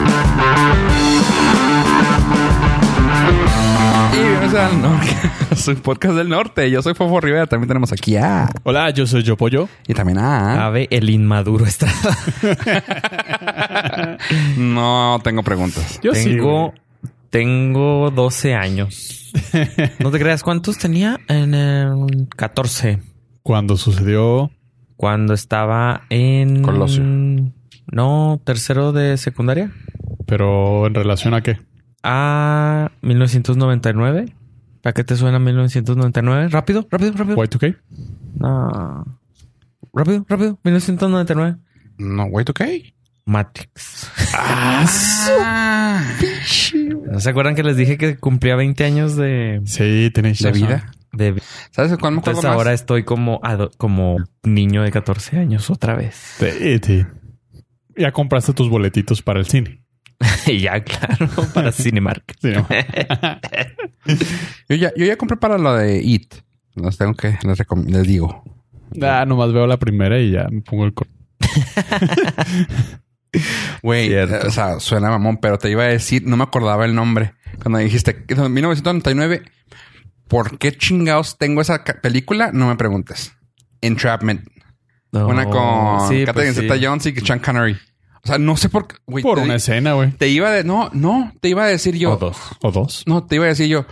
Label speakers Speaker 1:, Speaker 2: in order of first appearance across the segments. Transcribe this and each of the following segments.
Speaker 1: Soy podcast del norte. Yo soy Fofo Rivera. También tenemos aquí a.
Speaker 2: Hola, yo soy Yo Pollo.
Speaker 1: Y también a.
Speaker 3: Ave el inmaduro Estrada.
Speaker 1: No tengo preguntas.
Speaker 2: Yo sí,
Speaker 3: tengo, tengo 12 años. No te creas, ¿cuántos tenía? En el 14.
Speaker 2: Cuando sucedió
Speaker 3: Cuando estaba en...
Speaker 1: Colosio.
Speaker 3: No, tercero de secundaria.
Speaker 2: Pero en relación a qué?
Speaker 3: A 1999. ¿A qué te suena 1999? Rápido, rápido, rápido.
Speaker 2: Y2K.
Speaker 3: No. Rápido, rápido. 1999.
Speaker 1: No, wait, ok.
Speaker 3: Matrix. ¿No se acuerdan que les dije que cumplía 20 años de...
Speaker 2: Sí, tenéis
Speaker 1: De
Speaker 2: razón.
Speaker 1: vida.
Speaker 3: de vida?
Speaker 1: ¿Sabes de cuál me acuerdo
Speaker 3: Entonces
Speaker 1: más?
Speaker 3: ahora estoy como, ado- como niño de 14 años otra vez.
Speaker 2: Sí, sí. Ya compraste tus boletitos para el cine.
Speaker 3: Y ya, claro, para Cinemark.
Speaker 2: Sí, ¿no?
Speaker 1: Yo ya, yo ya compré para la de IT. Los tengo que, les, recom- les digo.
Speaker 2: ah, nomás veo la primera y ya me pongo el cor-
Speaker 1: Güey, eh,
Speaker 3: Cierto.
Speaker 1: o sea, suena mamón, pero te iba a decir, no me acordaba el nombre. Cuando dijiste que en 1999, ¿por qué chingados tengo esa ca- película? No me preguntes. Entrapment. Una con
Speaker 3: Sí,
Speaker 1: Catherine
Speaker 3: pues sí.
Speaker 1: Zeta-Jones y Sean Connery. O sea, no sé por qué. güey,
Speaker 2: Por
Speaker 1: te,
Speaker 2: una escena, güey.
Speaker 1: te iba de... No, no, te iba a decir yo...
Speaker 3: O dos.
Speaker 2: O dos.
Speaker 1: No, te iba a decir yo...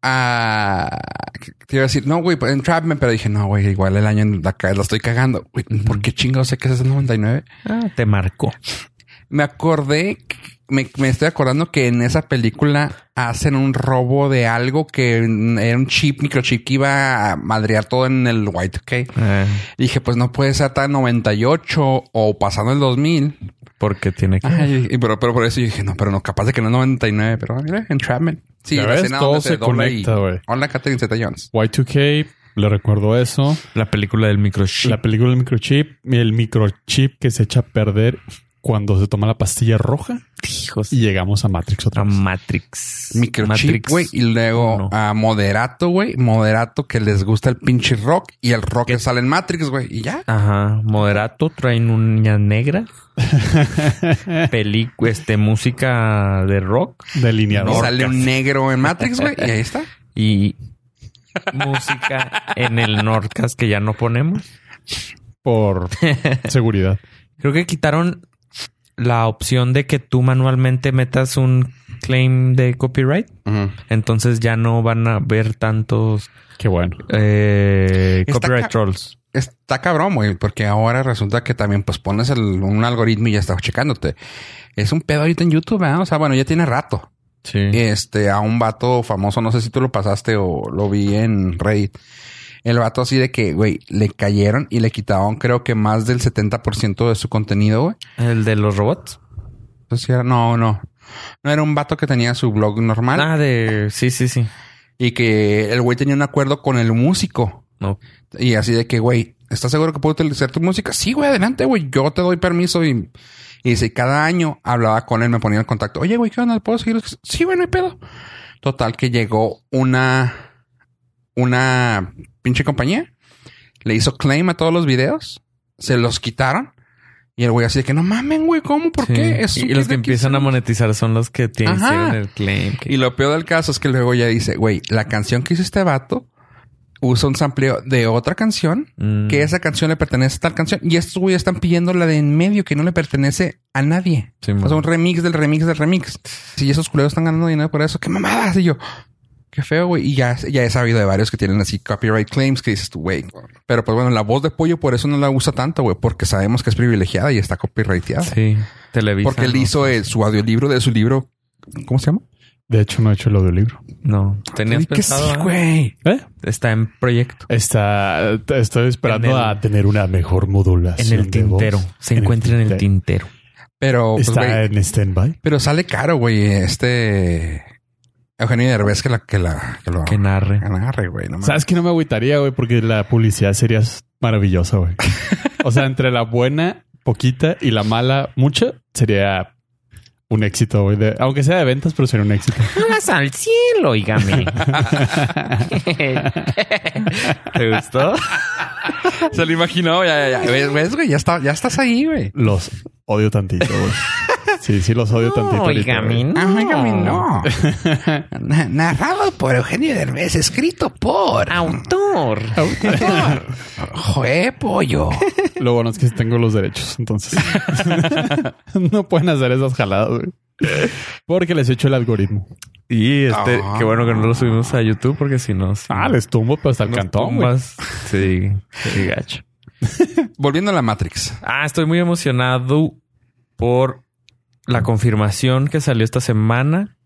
Speaker 1: Ah, te iba a decir, no, güey, pues, Entrapment. Pero dije, no, güey, igual el año la, ca- la estoy cagando. Güey, ¿por qué chingados sé que es el 99?
Speaker 3: Ah, te marcó.
Speaker 1: Me acordé, que- me, me estoy acordando que en esa película hacen un robo de algo que mm, era un chip, microchip que iba a madrear todo en el White, ok.
Speaker 3: Eh,
Speaker 1: Dije, pues no puede ser tan 98 o pasando el 2000.
Speaker 3: porque tiene que...
Speaker 1: Ay, y- pero, pero por eso yo dije, no, pero no, capaz de que no es 99, pero ah, mira, Entrapment. Sí,
Speaker 2: Ya
Speaker 1: la
Speaker 2: ves,
Speaker 1: escena
Speaker 2: todo
Speaker 1: donde se
Speaker 2: se
Speaker 1: dobla y-
Speaker 2: conecta, güey.
Speaker 1: Hola, Catherine Zeta-Jones.
Speaker 2: Y2K, le recuerdo eso.
Speaker 3: La película del microchip.
Speaker 2: La película del microchip, el microchip que se echa a perder cuando se toma la pastilla roja
Speaker 3: Hijos.
Speaker 2: y llegamos a Matrix otra
Speaker 3: A
Speaker 2: vez.
Speaker 3: Matrix.
Speaker 1: Microchip,
Speaker 3: Matrix.
Speaker 1: güey, y luego
Speaker 3: Uno.
Speaker 1: a Moderato, güey. Moderato que les gusta el pinche rock y el rock que sale en Matrix, güey. Y ya.
Speaker 3: Ajá. Moderato, traen uña negra. película, este, música de rock.
Speaker 1: Y
Speaker 2: Delineador.
Speaker 1: sale un negro en Matrix, güey, y ahí está.
Speaker 3: Y música en el Nordcast que ya no ponemos.
Speaker 2: por seguridad.
Speaker 3: Creo que quitaron la opción de que tú manualmente metas un claim de copyright. Entonces ya no van a ver tantos
Speaker 2: Qué bueno.
Speaker 3: eh,
Speaker 1: Está
Speaker 3: copyright
Speaker 1: ca-
Speaker 3: trolls.
Speaker 1: Está cabrón, güey, porque ahora resulta que también pues pones el- un algoritmo y ya estás checándote. Es un pedo ahorita en YouTube, ¿verdad? O sea, bueno, ya tiene rato.
Speaker 3: Sí.
Speaker 1: Este, a un vato famoso, no sé si tú lo pasaste o lo vi en Reddit. El vato así de que, güey, le cayeron y le quitaron creo que más del 70% de su contenido, güey.
Speaker 3: El de los robots.
Speaker 1: Entonces, sí era- no, no. No era un vato que tenía su blog normal
Speaker 3: Ah, de. Sí, sí, sí.
Speaker 1: y que el güey tenía un acuerdo con el músico.
Speaker 3: No.
Speaker 1: Y así de que, güey, ¿estás seguro que puedo utilizar tu música? Sí, güey, adelante, güey, yo te doy permiso. Y, y dice, cada año hablaba con él, me ponía en contacto. Oye, güey, ¿qué onda? ¿Puedo seguir? Sí, güey, no hay pedo. Total, que llegó una, una pinche compañía, le hizo claim a todos los videos, se los quitaron. Y el güey así de que, no mamen, güey, ¿cómo? ¿Por
Speaker 3: Sí.
Speaker 1: qué? Es un
Speaker 3: y los
Speaker 1: video
Speaker 3: que empiezan a
Speaker 1: hicimos".
Speaker 3: monetizar son los que tienen
Speaker 1: Ajá.
Speaker 3: hicieron el claim. que-
Speaker 1: Y lo peor del caso es que luego ya dice, güey, la canción que hizo este vato usa un sampleo de otra canción,
Speaker 3: Mm.
Speaker 1: que esa canción le pertenece a tal canción, y estos güeyes están pidiendo la de en medio que no le pertenece a nadie.
Speaker 3: Sí,
Speaker 1: O
Speaker 3: man.
Speaker 1: sea, un remix del remix del remix. Si esos culeros están ganando dinero por eso, qué mamadas. Y yo, qué feo, güey. Y ya, ya he sabido de varios que tienen así copyright claims que dices tú, güey. Pero pues bueno, la voz de pollo por eso no la usa tanto, güey, porque sabemos que es privilegiada y está copyrighteada.
Speaker 3: Sí. Televisa.
Speaker 1: porque él
Speaker 3: no.
Speaker 1: hizo eh, su audiolibro de su libro. ¿Cómo se llama?
Speaker 2: De hecho, no he hecho el audiolibro.
Speaker 3: No. Tenías
Speaker 1: Que sí,
Speaker 3: pensado. ¿eh?
Speaker 1: güey.
Speaker 2: ¿Eh?
Speaker 3: Está en proyecto.
Speaker 2: Está, estoy esperando
Speaker 3: En el-
Speaker 2: a tener una mejor modulación.
Speaker 3: En el
Speaker 2: de voz.
Speaker 3: tintero. Se encuentra en el tintero.
Speaker 1: Pero, pues,
Speaker 2: Está
Speaker 1: güey,
Speaker 2: en stand-by.
Speaker 1: pero sale caro, güey. Este Eugenio Derbez que la que la que lo
Speaker 3: Que narre.
Speaker 1: agarre, güey. No mames.
Speaker 2: ¿Sabes que no me agüitaría, güey? Porque la publicidad sería maravillosa, güey. o sea, entre la buena, poquita, y la mala, mucha, sería un éxito, güey. De- Aunque sea de ventas, pero sería un éxito.
Speaker 3: Alas al cielo, oígame. ¿Te gustó?
Speaker 1: Se lo imaginó, ya, ya, ya. ¿Ves, ves, güey? Ya, está, ya estás ahí, güey.
Speaker 2: Los odio tantito, güey. Sí, sí, los odio tantito. ahorita,
Speaker 3: Oiga,
Speaker 2: güey.
Speaker 4: ¿eh?
Speaker 3: no.
Speaker 1: Ah, oiga, mi no. Na- Narrado por Eugenio Derbez, escrito por
Speaker 3: Autor.
Speaker 1: Joé Pollo.
Speaker 2: Lo bueno es que tengo los derechos, entonces no pueden hacer esas jaladas, güey. Porque les echo el algoritmo.
Speaker 4: Y este,
Speaker 1: Ah.
Speaker 4: qué bueno que no lo subimos a YouTube porque si no. sí.
Speaker 2: Ah, les tumbo pero hasta el
Speaker 4: Unas
Speaker 2: cantón, güey.
Speaker 4: tumbas. Sí, qué gacho.
Speaker 1: Volviendo a la Matrix.
Speaker 3: Ah, estoy muy emocionado por la confirmación que salió esta semana.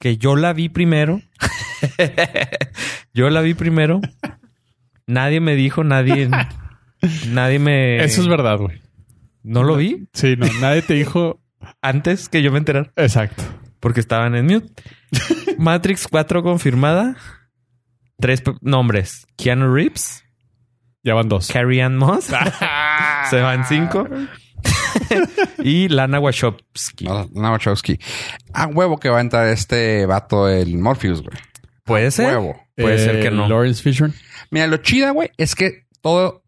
Speaker 3: Que yo la vi primero. yo la vi primero. Nadie me dijo, nadie. nadie me.
Speaker 2: Eso es verdad, güey.
Speaker 3: No lo vi
Speaker 2: Sí, no, nadie te dijo
Speaker 3: antes que yo me enterara
Speaker 2: exacto.
Speaker 3: porque estaban en mute. Matrix 4 confirmada. Tres pe- nombres: Keanu Reeves,
Speaker 2: Ya van dos.
Speaker 3: Carrie Ann Moss. Se van cinco. y Lana Wachowski.
Speaker 1: No, no, Wachowski. A huevo que va a entrar este vato del Morpheus, güey.
Speaker 3: Puede ser.
Speaker 1: Huevo.
Speaker 3: Puede ser que
Speaker 2: Eh,
Speaker 3: no.
Speaker 2: Lawrence Fishburne.
Speaker 1: Mira, lo chida, güey, es que todo,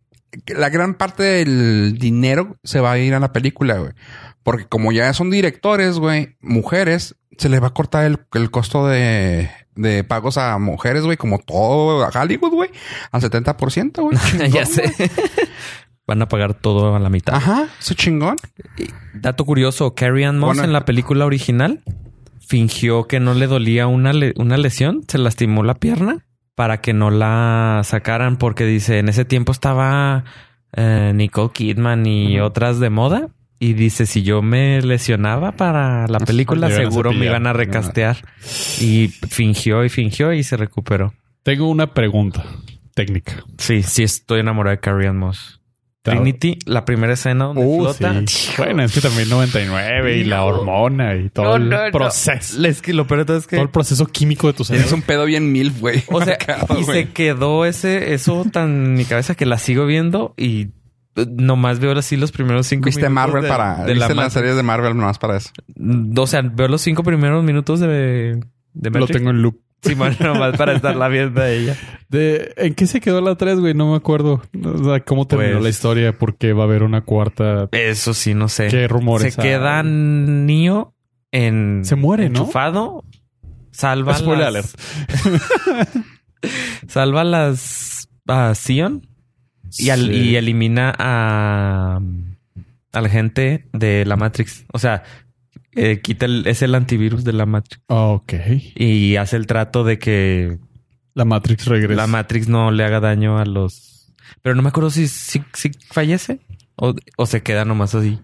Speaker 1: la gran parte del dinero se va a ir a la película, güey. Porque como ya son directores, güey, mujeres, se les va a cortar el, el costo de, de pagos a mujeres, güey, como todo a Hollywood, güey, al 70%, güey. Chingón,
Speaker 3: ya
Speaker 1: güey.
Speaker 3: sé. Van a pagar todo a la mitad.
Speaker 1: Ajá, su chingón.
Speaker 3: Dato curioso, Carrie Ann Moss
Speaker 1: Bueno.
Speaker 3: en la película original fingió que no le dolía una, le- una lesión, se lastimó la pierna para que no la sacaran porque dice, en ese tiempo estaba eh, Nicole Kidman y otras de moda y dice, si yo me lesionaba para la película
Speaker 2: iban a
Speaker 3: seguro me
Speaker 2: cepillar.
Speaker 3: iban a recastear y fingió y fingió y se recuperó.
Speaker 2: Tengo una pregunta técnica.
Speaker 3: Sí, sí estoy enamorado de Carrie Ann Moss. Trinity, la primera escena donde
Speaker 2: Uh,
Speaker 3: flota.
Speaker 2: sí. Bueno, es que también 99 y la hormona y todo el proceso.
Speaker 3: Es que lo peor de todo es que.
Speaker 2: Todo el proceso químico de tu cerebro.
Speaker 1: Tienes un pedo bien mil, güey.
Speaker 3: O sea,
Speaker 1: marcado,
Speaker 3: y
Speaker 1: güey.
Speaker 3: se quedó ese, eso tan en mi cabeza que la sigo viendo y eh, nomás veo así los primeros cinco
Speaker 1: Viste
Speaker 3: minutos.
Speaker 1: Marvel
Speaker 3: de-
Speaker 1: para...
Speaker 3: de la
Speaker 1: viste las
Speaker 3: Matrix.
Speaker 1: series de Marvel nomás para eso.
Speaker 3: O sea, veo los cinco primeros minutos de. de
Speaker 2: Lo
Speaker 3: Matrix.
Speaker 2: tengo en loop.
Speaker 3: Simón, nomás para estarla viendo a ella.
Speaker 2: De, ¿En qué se quedó la 3, güey? No me acuerdo. O sea, ¿cómo terminó
Speaker 3: Pues-
Speaker 2: la historia? ¿Por qué va a haber una cuarta?
Speaker 3: Eso sí, no sé.
Speaker 2: ¿Qué rumores?
Speaker 3: eh, Se
Speaker 2: hay?
Speaker 3: queda Neo en.
Speaker 2: Se muere, ¿no?
Speaker 3: enchufado, Salva
Speaker 2: Ah, Spoiler
Speaker 3: las- salva las a Sion y, al-
Speaker 2: Sí.
Speaker 3: y elimina a, a la gente de la Matrix. O sea, eh, quita el, es el antivirus de la Matrix
Speaker 2: Ok.
Speaker 3: y hace el trato de que
Speaker 2: La Matrix regresa.
Speaker 3: la Matrix no le haga daño a los. Pero no me acuerdo si, si, si fallece o, o se queda nomás así.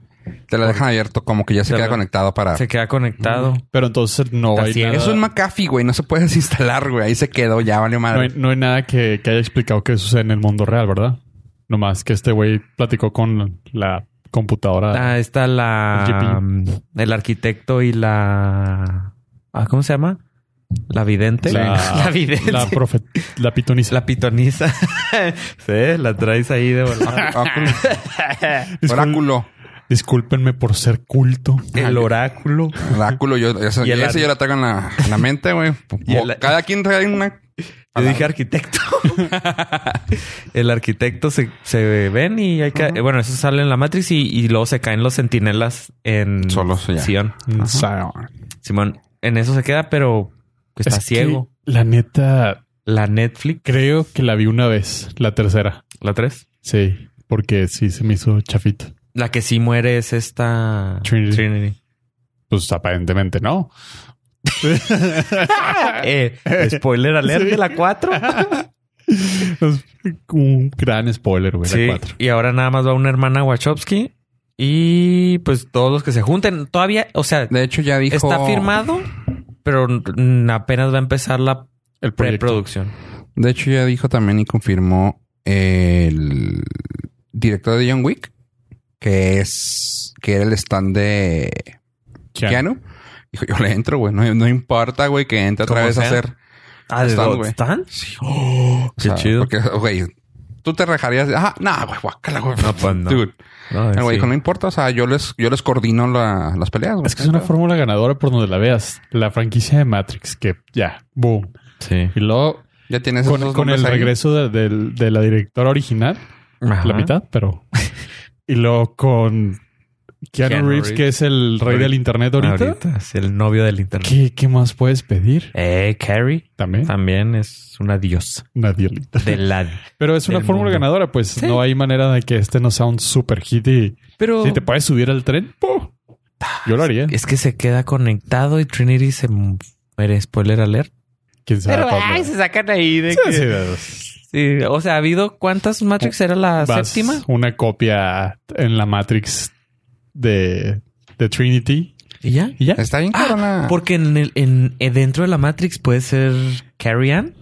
Speaker 1: Te la dejan abierto como que ya se
Speaker 3: Se
Speaker 1: queda
Speaker 3: la-
Speaker 1: conectado para...
Speaker 2: Ah.
Speaker 3: Se queda conectado.
Speaker 2: Pero entonces no
Speaker 3: Está
Speaker 2: hay,
Speaker 3: ciego.
Speaker 2: nada,
Speaker 1: Es un McAfee, güey. No se puede desinstalar, güey. Ahí se quedó, ya valió
Speaker 2: no,
Speaker 1: madre.
Speaker 2: hay, no hay nada que, que haya explicado que sucede en el mundo real, ¿verdad? Nomás que este güey platicó con la computadora.
Speaker 3: Ah, está la mm, el, arquitecto y la ah, ¿cómo se llama? La vidente.
Speaker 2: La-
Speaker 3: vidente.
Speaker 2: La, profe, la pitoniza.
Speaker 3: La pitoniza. sí, la traes ahí de volada.
Speaker 1: Oráculo.
Speaker 2: Discul-
Speaker 1: Oráculo.
Speaker 2: Discúlpenme por ser culto.
Speaker 3: El oráculo.
Speaker 1: Oráculo. Yo, esa,
Speaker 3: Y el
Speaker 1: esa
Speaker 3: ar-
Speaker 1: yo la traigo en la, en la mente, güey.
Speaker 3: Y el-
Speaker 1: Cada quien trae una...
Speaker 3: Yo dije arquitecto. el arquitecto se, se ven y hay que. Bueno, eso sale en la Matrix y, y luego se caen los sentinelas en
Speaker 1: Solos, ya.
Speaker 3: Sion.
Speaker 2: Zion.
Speaker 3: Simón, en eso se queda, pero
Speaker 2: Es
Speaker 3: está
Speaker 2: que,
Speaker 3: ciego.
Speaker 2: la neta,
Speaker 3: La Netflix,
Speaker 2: creo que la vi una vez, la tercera.
Speaker 3: la 3.
Speaker 2: Sí, porque sí se me hizo chafito.
Speaker 3: La que sí muere es esta
Speaker 2: Trinity. Pues aparentemente no.
Speaker 3: Eh, spoiler alert
Speaker 2: Sí.
Speaker 3: de la 4.
Speaker 2: Es un gran spoiler, güey.
Speaker 3: Sí,
Speaker 2: La cuatro.
Speaker 3: Y ahora nada más va una hermana Wachowski y pues todos los que se junten. Todavía, o sea,
Speaker 1: De hecho, ya dijo...
Speaker 3: está firmado, pero mm, apenas va a empezar la
Speaker 2: El proyecto.
Speaker 3: preproducción.
Speaker 1: De hecho, ya dijo también y confirmó el director de John Wick, que es... Que era el stand de
Speaker 2: Keanu.
Speaker 1: Keanu. Dijo, yo le entro, güey. No, no importa, güey, que entre otra
Speaker 3: Como
Speaker 1: vez a
Speaker 3: sea.
Speaker 1: hacer...
Speaker 3: Ah, ¿de
Speaker 1: Stand,
Speaker 3: Stand,
Speaker 1: güey.
Speaker 3: Stand?
Speaker 1: O sea,
Speaker 3: chido.
Speaker 1: Porque, güey, tú te rajarías... Ah, no, güey, guácala, güey.
Speaker 3: No, pues, no.
Speaker 1: Dude.
Speaker 3: No,
Speaker 1: El güey
Speaker 3: sí.
Speaker 1: dijo, no importa, o sea, yo les, yo les coordino la- las peleas, güey.
Speaker 2: Es que es una fórmula ganadora por donde la veas. La franquicia de Matrix, que ya, boom.
Speaker 3: Sí.
Speaker 2: Y luego,
Speaker 1: Ya tienes esos
Speaker 2: con,
Speaker 1: dos
Speaker 2: con el
Speaker 1: nombres ahí.
Speaker 2: regreso de, del- de la directora original,
Speaker 3: Ajá.
Speaker 2: la mitad, pero. Y luego con Keanu,
Speaker 3: Keanu
Speaker 2: Reeves, que
Speaker 3: Reeves.
Speaker 2: es el rey del internet ahorita.
Speaker 3: es el novio del internet.
Speaker 2: ¿Qué, qué más puedes pedir?
Speaker 3: Eh, Carrie
Speaker 2: También.
Speaker 3: también es una diosa
Speaker 2: Nadie. le-
Speaker 3: de la.
Speaker 2: Pero es una
Speaker 3: del
Speaker 2: fórmula
Speaker 3: mundo.
Speaker 2: ganadora, pues
Speaker 3: Sí.
Speaker 2: no hay manera de que este no sea un super hit y
Speaker 3: Pero
Speaker 2: si te puedes subir al tren, ¡pum! yo lo haría.
Speaker 3: es que se queda conectado y Trinity se muere. Spoiler alert.
Speaker 2: Quién sabe. cuándo.
Speaker 3: se sacan ahí de
Speaker 2: Sí, sí, sí.
Speaker 3: Sí, o sea, ha habido cuántas Matrix era la
Speaker 2: Vas
Speaker 3: séptima
Speaker 2: Una copia en la Matrix de, de Trinity
Speaker 3: y ya.
Speaker 2: y ya.
Speaker 1: Está
Speaker 3: Ah,
Speaker 1: bien, cabrona.
Speaker 3: Porque en el en, eh, dentro de la Matrix puede ser Carrie Ann,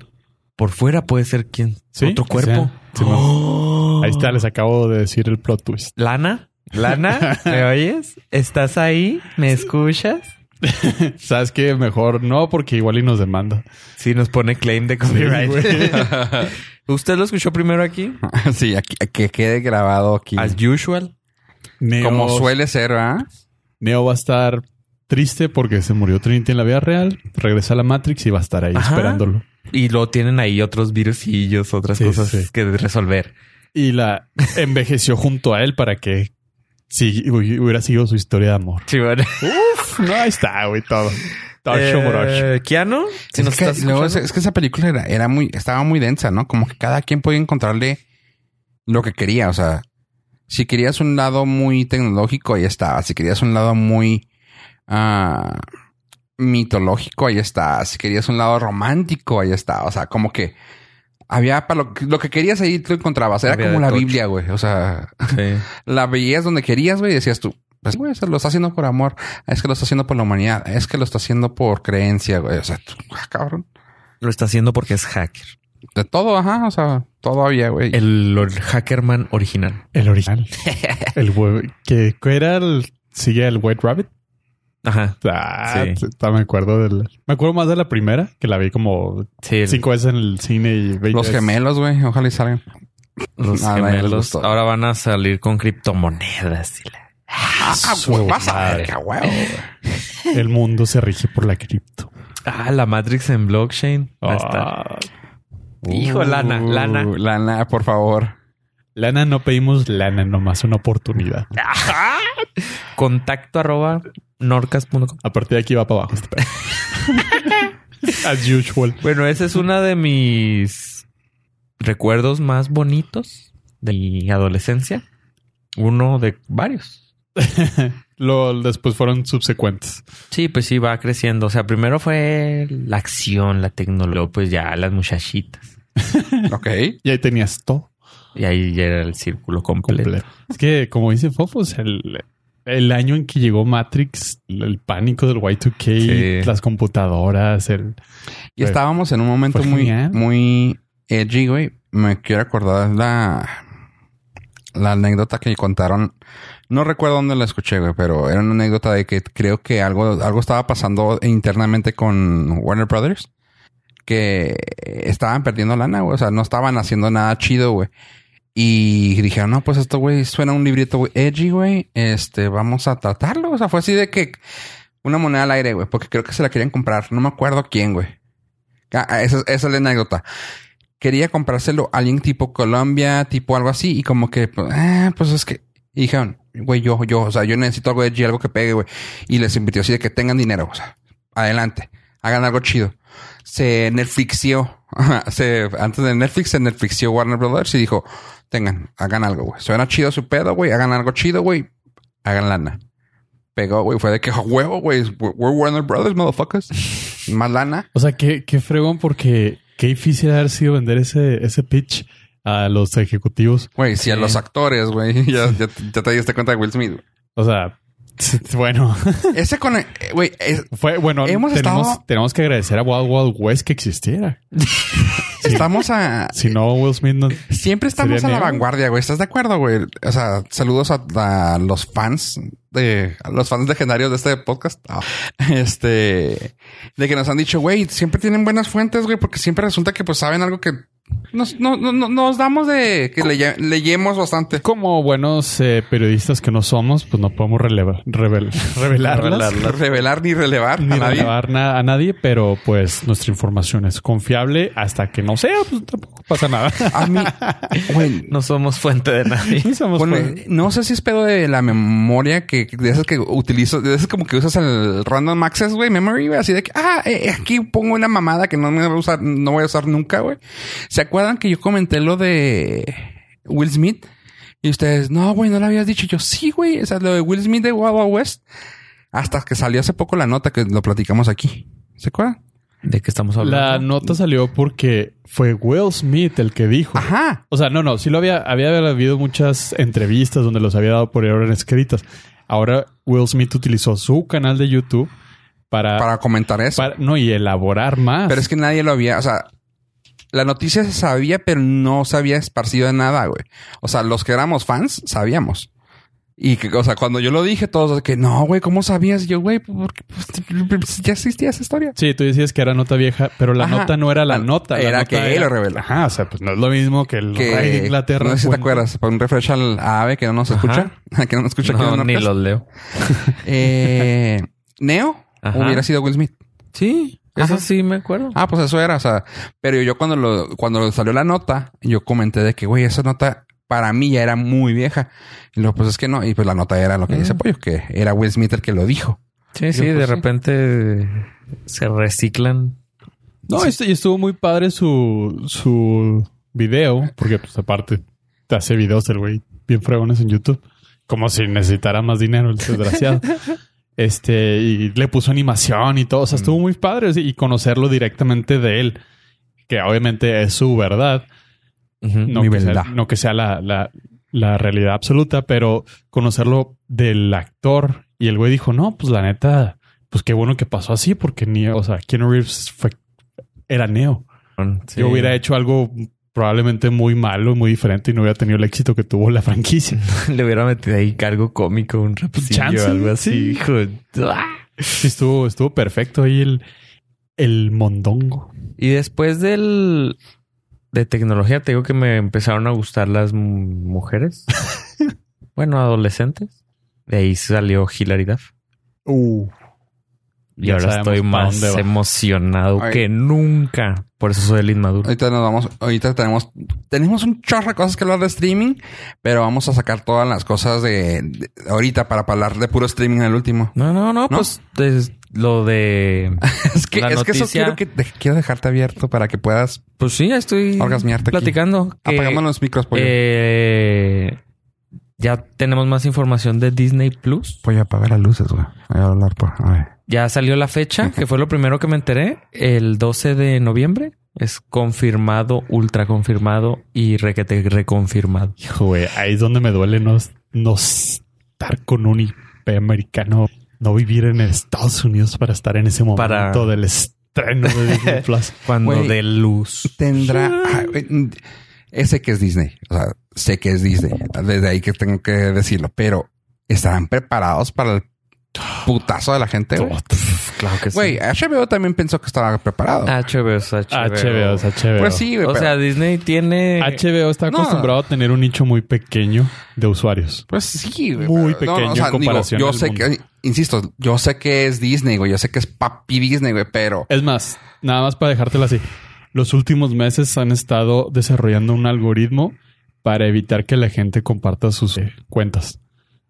Speaker 3: por fuera puede ser quien
Speaker 2: Sí,
Speaker 3: otro
Speaker 2: que
Speaker 3: cuerpo.
Speaker 2: sea. Simón.
Speaker 3: ¡Oh!
Speaker 2: Ahí está, les acabo de decir el plot twist.
Speaker 3: Lana, Lana, ¿me oyes? ¿Estás ahí? ¿Me escuchas?
Speaker 2: ¿Sabes qué? Mejor no, porque igual y nos demanda.
Speaker 3: Sí, nos pone claim de copyright. ¿Usted lo escuchó primero aquí?
Speaker 1: sí, aquí- que quede grabado aquí.
Speaker 3: As usual.
Speaker 2: Neo,
Speaker 1: Como suele ser, ¿verdad?
Speaker 2: Neo va a estar triste porque se murió Trinity en la vida real. Regresa a la Matrix y va a estar ahí
Speaker 3: Ajá.
Speaker 2: esperándolo.
Speaker 3: Y luego tienen ahí otros virusillos, otras
Speaker 2: Sí,
Speaker 3: cosas
Speaker 2: sí.
Speaker 3: que resolver.
Speaker 2: Y la envejeció junto a él para que si hubiera seguido su historia de amor.
Speaker 3: Sí, bueno.
Speaker 2: Uf, no, ahí está, güey, todo. Todo
Speaker 3: Eh,
Speaker 2: chomorosh.
Speaker 3: Keanu, si
Speaker 1: es,
Speaker 3: nos
Speaker 1: que,
Speaker 3: estás
Speaker 1: luego es,
Speaker 3: escuchando.
Speaker 1: es que esa película era, era muy, estaba muy densa, ¿no? Como que cada quien podía encontrarle lo que quería. O sea, si querías un lado muy tecnológico, ahí estaba. Si querías un lado muy ah, mitológico, ahí estaba. Si querías un lado romántico, ahí estaba. O sea, como que había para lo, que- lo que querías ahí tú encontrabas. Era
Speaker 3: Había
Speaker 1: como
Speaker 3: de
Speaker 1: la
Speaker 3: tocho.
Speaker 1: Biblia, güey. O sea,
Speaker 3: Sí.
Speaker 1: la veías donde querías, güey, y decías tú, pues, güey, se lo está haciendo por amor, es que lo está haciendo por la humanidad, es que lo está haciendo por creencia, güey. O sea, tú, ah, cabrón.
Speaker 3: Lo está haciendo porque es hacker.
Speaker 1: De todo, ajá, o sea, todavía, güey.
Speaker 3: El or- hackerman original.
Speaker 2: El original. el hue- que que era el. Sigue el White Rabbit.
Speaker 3: Ajá.
Speaker 2: Ah,
Speaker 3: Sí.
Speaker 2: t- t- me acuerdo del. Me acuerdo más de la primera, que la vi como
Speaker 3: Sí, el-
Speaker 2: cinco veces en el cine y veinte
Speaker 1: Los
Speaker 2: veces.
Speaker 1: gemelos, güey, ojalá y salgan.
Speaker 3: los
Speaker 1: Ah, no, ya les
Speaker 3: gemelos
Speaker 1: gustó.
Speaker 3: ahora van a salir con criptomonedas. y la-
Speaker 1: Ah,
Speaker 2: Su
Speaker 1: güey, vas a ver,
Speaker 2: madre.
Speaker 1: qué huevo. güey.
Speaker 2: El mundo se rige por la cripto.
Speaker 3: Ah, la Matrix en blockchain. Va a estar.
Speaker 2: Ah.
Speaker 3: Hijo, lana,
Speaker 1: Uh,
Speaker 3: lana.
Speaker 1: Lana, por favor.
Speaker 2: Lana, no pedimos lana, nomás una oportunidad.
Speaker 3: Contacto arroba norcas.com.
Speaker 2: A partir de aquí va para abajo. este pedo. As usual.
Speaker 3: Bueno, esa es una de mis recuerdos más bonitos de mi adolescencia. Uno de varios.
Speaker 2: Lo, después fueron subsecuentes.
Speaker 3: Sí, pues sí, va creciendo. O sea, primero fue la acción, la tecnología, luego, pues ya las muchachitas.
Speaker 1: Ok.
Speaker 2: Y ahí tenías todo
Speaker 3: Y ahí ya era el círculo completo.
Speaker 2: completo. Es que, como dice Fofos, el, el año en que llegó Matrix, el pánico del Y2K,
Speaker 3: Sí.
Speaker 2: las computadoras, el...
Speaker 1: Y
Speaker 2: Fue-
Speaker 1: estábamos en un momento
Speaker 2: fue
Speaker 1: muy,
Speaker 2: genial.
Speaker 1: muy edgy, güey. Me quiero acordar la, la anécdota que contaron. No recuerdo dónde la escuché, güey, pero era una anécdota de que creo que algo, algo estaba pasando internamente con Warner Brothers. Que estaban perdiendo lana, güey. O sea, no estaban haciendo nada chido, güey. Y dijeron, no, pues esto, güey, suena un librito güey, edgy, güey. Este, vamos a tratarlo. O sea, fue así de que una moneda al aire, güey, porque creo que se la querían comprar. No me acuerdo quién, güey. Ah, ah, esa, esa es la anécdota. Quería comprárselo a alguien tipo Colombia, tipo algo así, y como que, pues, ah, pues es que. Y dijeron, güey, yo, yo, o sea, yo necesito algo de G, algo que pegue, güey. Y les invitó así de que tengan dinero, o sea, adelante, hagan algo chido. Se Netflixió, ajá, se, antes de Netflix, se Netflixió Warner Brothers y dijo, tengan, hagan algo, güey. Suena chido su pedo, güey, hagan algo chido, güey, hagan lana. Pegó, güey, fue de que, "A huevo, güey, we're Warner Brothers, motherfuckers. Más lana.
Speaker 2: O sea, qué, qué fregón porque qué difícil haber sido vender ese, ese pitch a los ejecutivos.
Speaker 1: Güey, si a
Speaker 3: Sí.
Speaker 1: los actores, güey, ya, ya, ya te diste cuenta de Will Smith. güey.
Speaker 2: O sea, bueno,
Speaker 1: Ese con... eh, Güey, es-
Speaker 2: fue bueno.
Speaker 1: Hemos
Speaker 2: tenemos,
Speaker 1: estado-
Speaker 2: tenemos que agradecer a Wild Wild West que existiera.
Speaker 1: estamos a...
Speaker 2: Si no, Will Smith no.
Speaker 1: Siempre estamos a
Speaker 2: Sería
Speaker 1: la
Speaker 2: negro.
Speaker 1: vanguardia, güey. ¿Estás de acuerdo, güey? O sea, saludos a, a los fans de... A los fans legendarios de este podcast. Ah. Este... De que nos han dicho, güey, siempre tienen buenas fuentes, güey, porque siempre resulta que pues saben algo que Nos, no- no- no- nos damos de que leye- leyemos bastante.
Speaker 2: Como buenos eh, periodistas que no somos, pues no podemos relevar, revel- revelarlas,
Speaker 1: Revelar ni relevar
Speaker 2: ni
Speaker 1: a nadie.
Speaker 2: relevar na- a nadie, pero pues nuestra información es confiable hasta que no sea, pues tampoco pasa nada.
Speaker 1: A mí, güey,
Speaker 3: No somos fuente de nadie.
Speaker 2: Ni somos
Speaker 1: Bueno,
Speaker 2: fuera-
Speaker 1: no sé si es pedo de la memoria que de esas que utilizo, de esas como que usas el random access, güey, memory, güey, así de que ah, eh, aquí pongo una mamada que no me voy a usar, no voy a usar nunca, güey. ¿Se acuerdan que yo comenté lo de Will Smith? Y ustedes, no, güey, no lo habías dicho. Yo, sí, güey. O sea, lo de Will Smith de Wild Wild West. Hasta que salió hace poco la nota que lo platicamos aquí. ¿Se acuerdan?
Speaker 3: ¿De qué estamos
Speaker 2: La
Speaker 3: hablando?
Speaker 2: nota salió porque fue Will Smith el que dijo.
Speaker 1: Ajá.
Speaker 2: O sea, no, no, sí lo había, había habido muchas entrevistas donde los había dado por error en escritas. Ahora Will Smith utilizó su canal de YouTube para,
Speaker 1: Para comentar eso.
Speaker 2: para- no y elaborar
Speaker 3: Ah,
Speaker 2: más.
Speaker 1: Pero es que nadie lo había, o sea, la noticia se sabía, pero no se había esparcido de nada, güey. O sea, los que éramos fans sabíamos. Y que, o sea, cuando yo lo dije, todos que no, güey, ¿cómo sabías? Y yo, güey, porque pues, ya existía esa historia.
Speaker 2: Sí, tú decías que era nota vieja, pero la
Speaker 1: Ajá.
Speaker 2: nota no era la
Speaker 1: La-
Speaker 2: nota. la
Speaker 1: era
Speaker 2: nota
Speaker 1: que él lo reveló.
Speaker 2: Ajá, o sea, pues no es lo mismo que el rey de
Speaker 1: Que,
Speaker 2: Inglaterra.
Speaker 1: no sé si te
Speaker 2: Bueno,
Speaker 1: acuerdas, para un refresh al AVE que no nos escucha, que no nos escucha aquí en
Speaker 3: No,
Speaker 1: el
Speaker 3: ni
Speaker 1: Norcas.
Speaker 3: los leo.
Speaker 1: Eh, Neo
Speaker 3: Ajá.
Speaker 1: hubiera sido Will Smith.
Speaker 3: Sí, eso sí me acuerdo.
Speaker 1: Ah, pues eso era, o sea, pero yo cuando lo, cuando salió la nota, yo comenté de que, güey, esa nota para mí ya era muy vieja. Y luego, pues es que no, y pues la nota era lo que dice Pollo, que era Will Smith el que lo dijo.
Speaker 3: Sí, sí,
Speaker 1: Yo,
Speaker 3: de
Speaker 1: pues, sí.
Speaker 3: repente se reciclan.
Speaker 2: No, este- y estuvo muy padre su, su video, porque pues aparte te hace videos el güey bien fregones en YouTube, como si necesitara más dinero el desgraciado. este, y le puso animación y todo, o sea, estuvo muy padre y conocerlo directamente de él, que obviamente es su verdad,
Speaker 3: Ujú.
Speaker 2: no
Speaker 1: Mi
Speaker 2: que, sea,
Speaker 1: verdad.
Speaker 2: no que sea la, la- la realidad absoluta, pero conocerlo del actor. Y el güey dijo, no, pues la neta, pues qué bueno que pasó así, porque Neo, o sea, Keanu Reeves fue, era Neo.
Speaker 3: Sí.
Speaker 2: Yo hubiera hecho algo probablemente muy malo, muy diferente y no hubiera tenido el éxito que tuvo la franquicia.
Speaker 3: Le hubiera metido ahí algo cómico, un rapcillo
Speaker 2: Chance,
Speaker 3: o algo así.
Speaker 2: sí.
Speaker 3: hijo. ¡Ah!
Speaker 2: Sí, estuvo, estuvo perfecto ahí el, el mondongo.
Speaker 3: Y después del... De tecnología, te digo que me empezaron a gustar las mu- mujeres. bueno, adolescentes. De ahí salió Hilary Duff. Y
Speaker 2: Ya
Speaker 3: ahora
Speaker 2: sabemos
Speaker 3: estoy
Speaker 2: pa'
Speaker 3: más
Speaker 2: dónde va.
Speaker 3: emocionado
Speaker 1: Ay.
Speaker 3: que nunca. Por eso soy el inmaduro.
Speaker 1: Ahorita nos vamos, ahorita tenemos, tenemos un chorro de cosas que hablar de streaming, pero vamos a sacar todas las cosas de, de- ahorita para hablar de puro streaming al último.
Speaker 3: No, no,
Speaker 1: ¿No?
Speaker 3: no, pues es lo de...
Speaker 1: Es que,
Speaker 3: La
Speaker 1: es que eso
Speaker 3: noticia-
Speaker 1: quiero que te- quiero dejarte abierto para que puedas
Speaker 3: Pues sí, ya estoy
Speaker 1: Orgasmearte aquí.
Speaker 3: platicando. que,
Speaker 1: apagando los micros, pollo.
Speaker 3: eh, ya tenemos más información de Disney Plus.
Speaker 1: Pollo, apaga las luces, güey. Voy a hablar por, a ver.
Speaker 3: Ya salió la fecha, que fue lo primero que me enteré. El 12 de noviembre es confirmado, ultra confirmado y requete reconfirmado.
Speaker 2: Hijo, güey, ahí es donde me duele no, no estar con un IP americano, no vivir en Estados Unidos para estar en ese momento
Speaker 3: Para-
Speaker 2: del estreno de Disney Plus.
Speaker 3: Cuando
Speaker 1: Güey.
Speaker 3: de luz.
Speaker 1: tendrá. Ay, güey, mm, Ese que es Disney. O sea, sé que es Disney. Desde ahí que tengo que decirlo. Pero estarán preparados para el putazo de la gente. güey?
Speaker 3: Claro que
Speaker 1: Güey, HBO también pensó que estaba preparado.
Speaker 2: Ah,
Speaker 3: HBO es HBO.
Speaker 2: HBO, es HBO.
Speaker 1: pues sí, güey.
Speaker 3: O
Speaker 1: pero-
Speaker 3: sea, Disney tiene...
Speaker 2: HBO está
Speaker 1: No.
Speaker 2: acostumbrado a tener un nicho muy pequeño de usuarios.
Speaker 1: pues sí, güey.
Speaker 2: muy
Speaker 1: pero-
Speaker 2: pequeño en comparación
Speaker 1: yo
Speaker 2: al
Speaker 1: sé que, insisto, yo sé que es Disney, güey. Yo sé que es papi Disney, güey, pero.
Speaker 2: Es más, nada más para dejártelo así. Los últimos meses han estado desarrollando un algoritmo para evitar que la gente comparta sus eh, cuentas.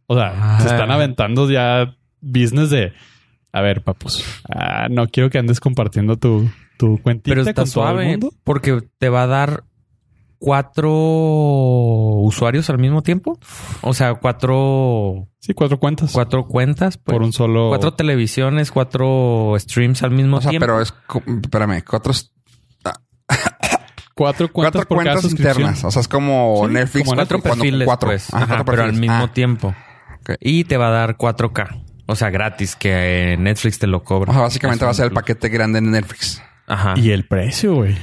Speaker 2: O sea,
Speaker 3: Ah.
Speaker 2: se están aventando ya business de... A ver, papus, ah, no quiero que andes compartiendo tu, tu cuentita
Speaker 3: Pero está
Speaker 2: con todo el
Speaker 3: suave
Speaker 2: mundo.
Speaker 3: porque te va a dar cuatro usuarios al mismo tiempo. O sea, cuatro,
Speaker 2: Sí, cuatro cuentas
Speaker 3: cuatro cuentas, pues.
Speaker 2: por un solo...
Speaker 3: cuatro televisiones, cuatro streams al mismo
Speaker 1: O sea,
Speaker 3: tiempo.
Speaker 1: pero es. co- Espérame, cuatro,
Speaker 2: cuatro cuentas
Speaker 1: cuatro
Speaker 2: por cada
Speaker 1: cuentas
Speaker 2: suscripción.
Speaker 1: internas. O sea, es como
Speaker 2: Sí,
Speaker 1: Netflix.
Speaker 2: como
Speaker 1: cuatro
Speaker 3: cuatro perfiles,
Speaker 1: cuatro.
Speaker 3: pues.
Speaker 1: Ajá,
Speaker 3: Ajá,
Speaker 1: cuatro
Speaker 3: pero al
Speaker 1: perfiles.
Speaker 3: mismo
Speaker 1: Ah,
Speaker 3: tiempo.
Speaker 1: ok.
Speaker 3: Y te va a dar 4K. O sea, gratis, que eh, Netflix te lo cobra.
Speaker 1: O sea, básicamente va a ser el paquete grande de Netflix.
Speaker 3: Ajá.
Speaker 2: Y el precio, güey.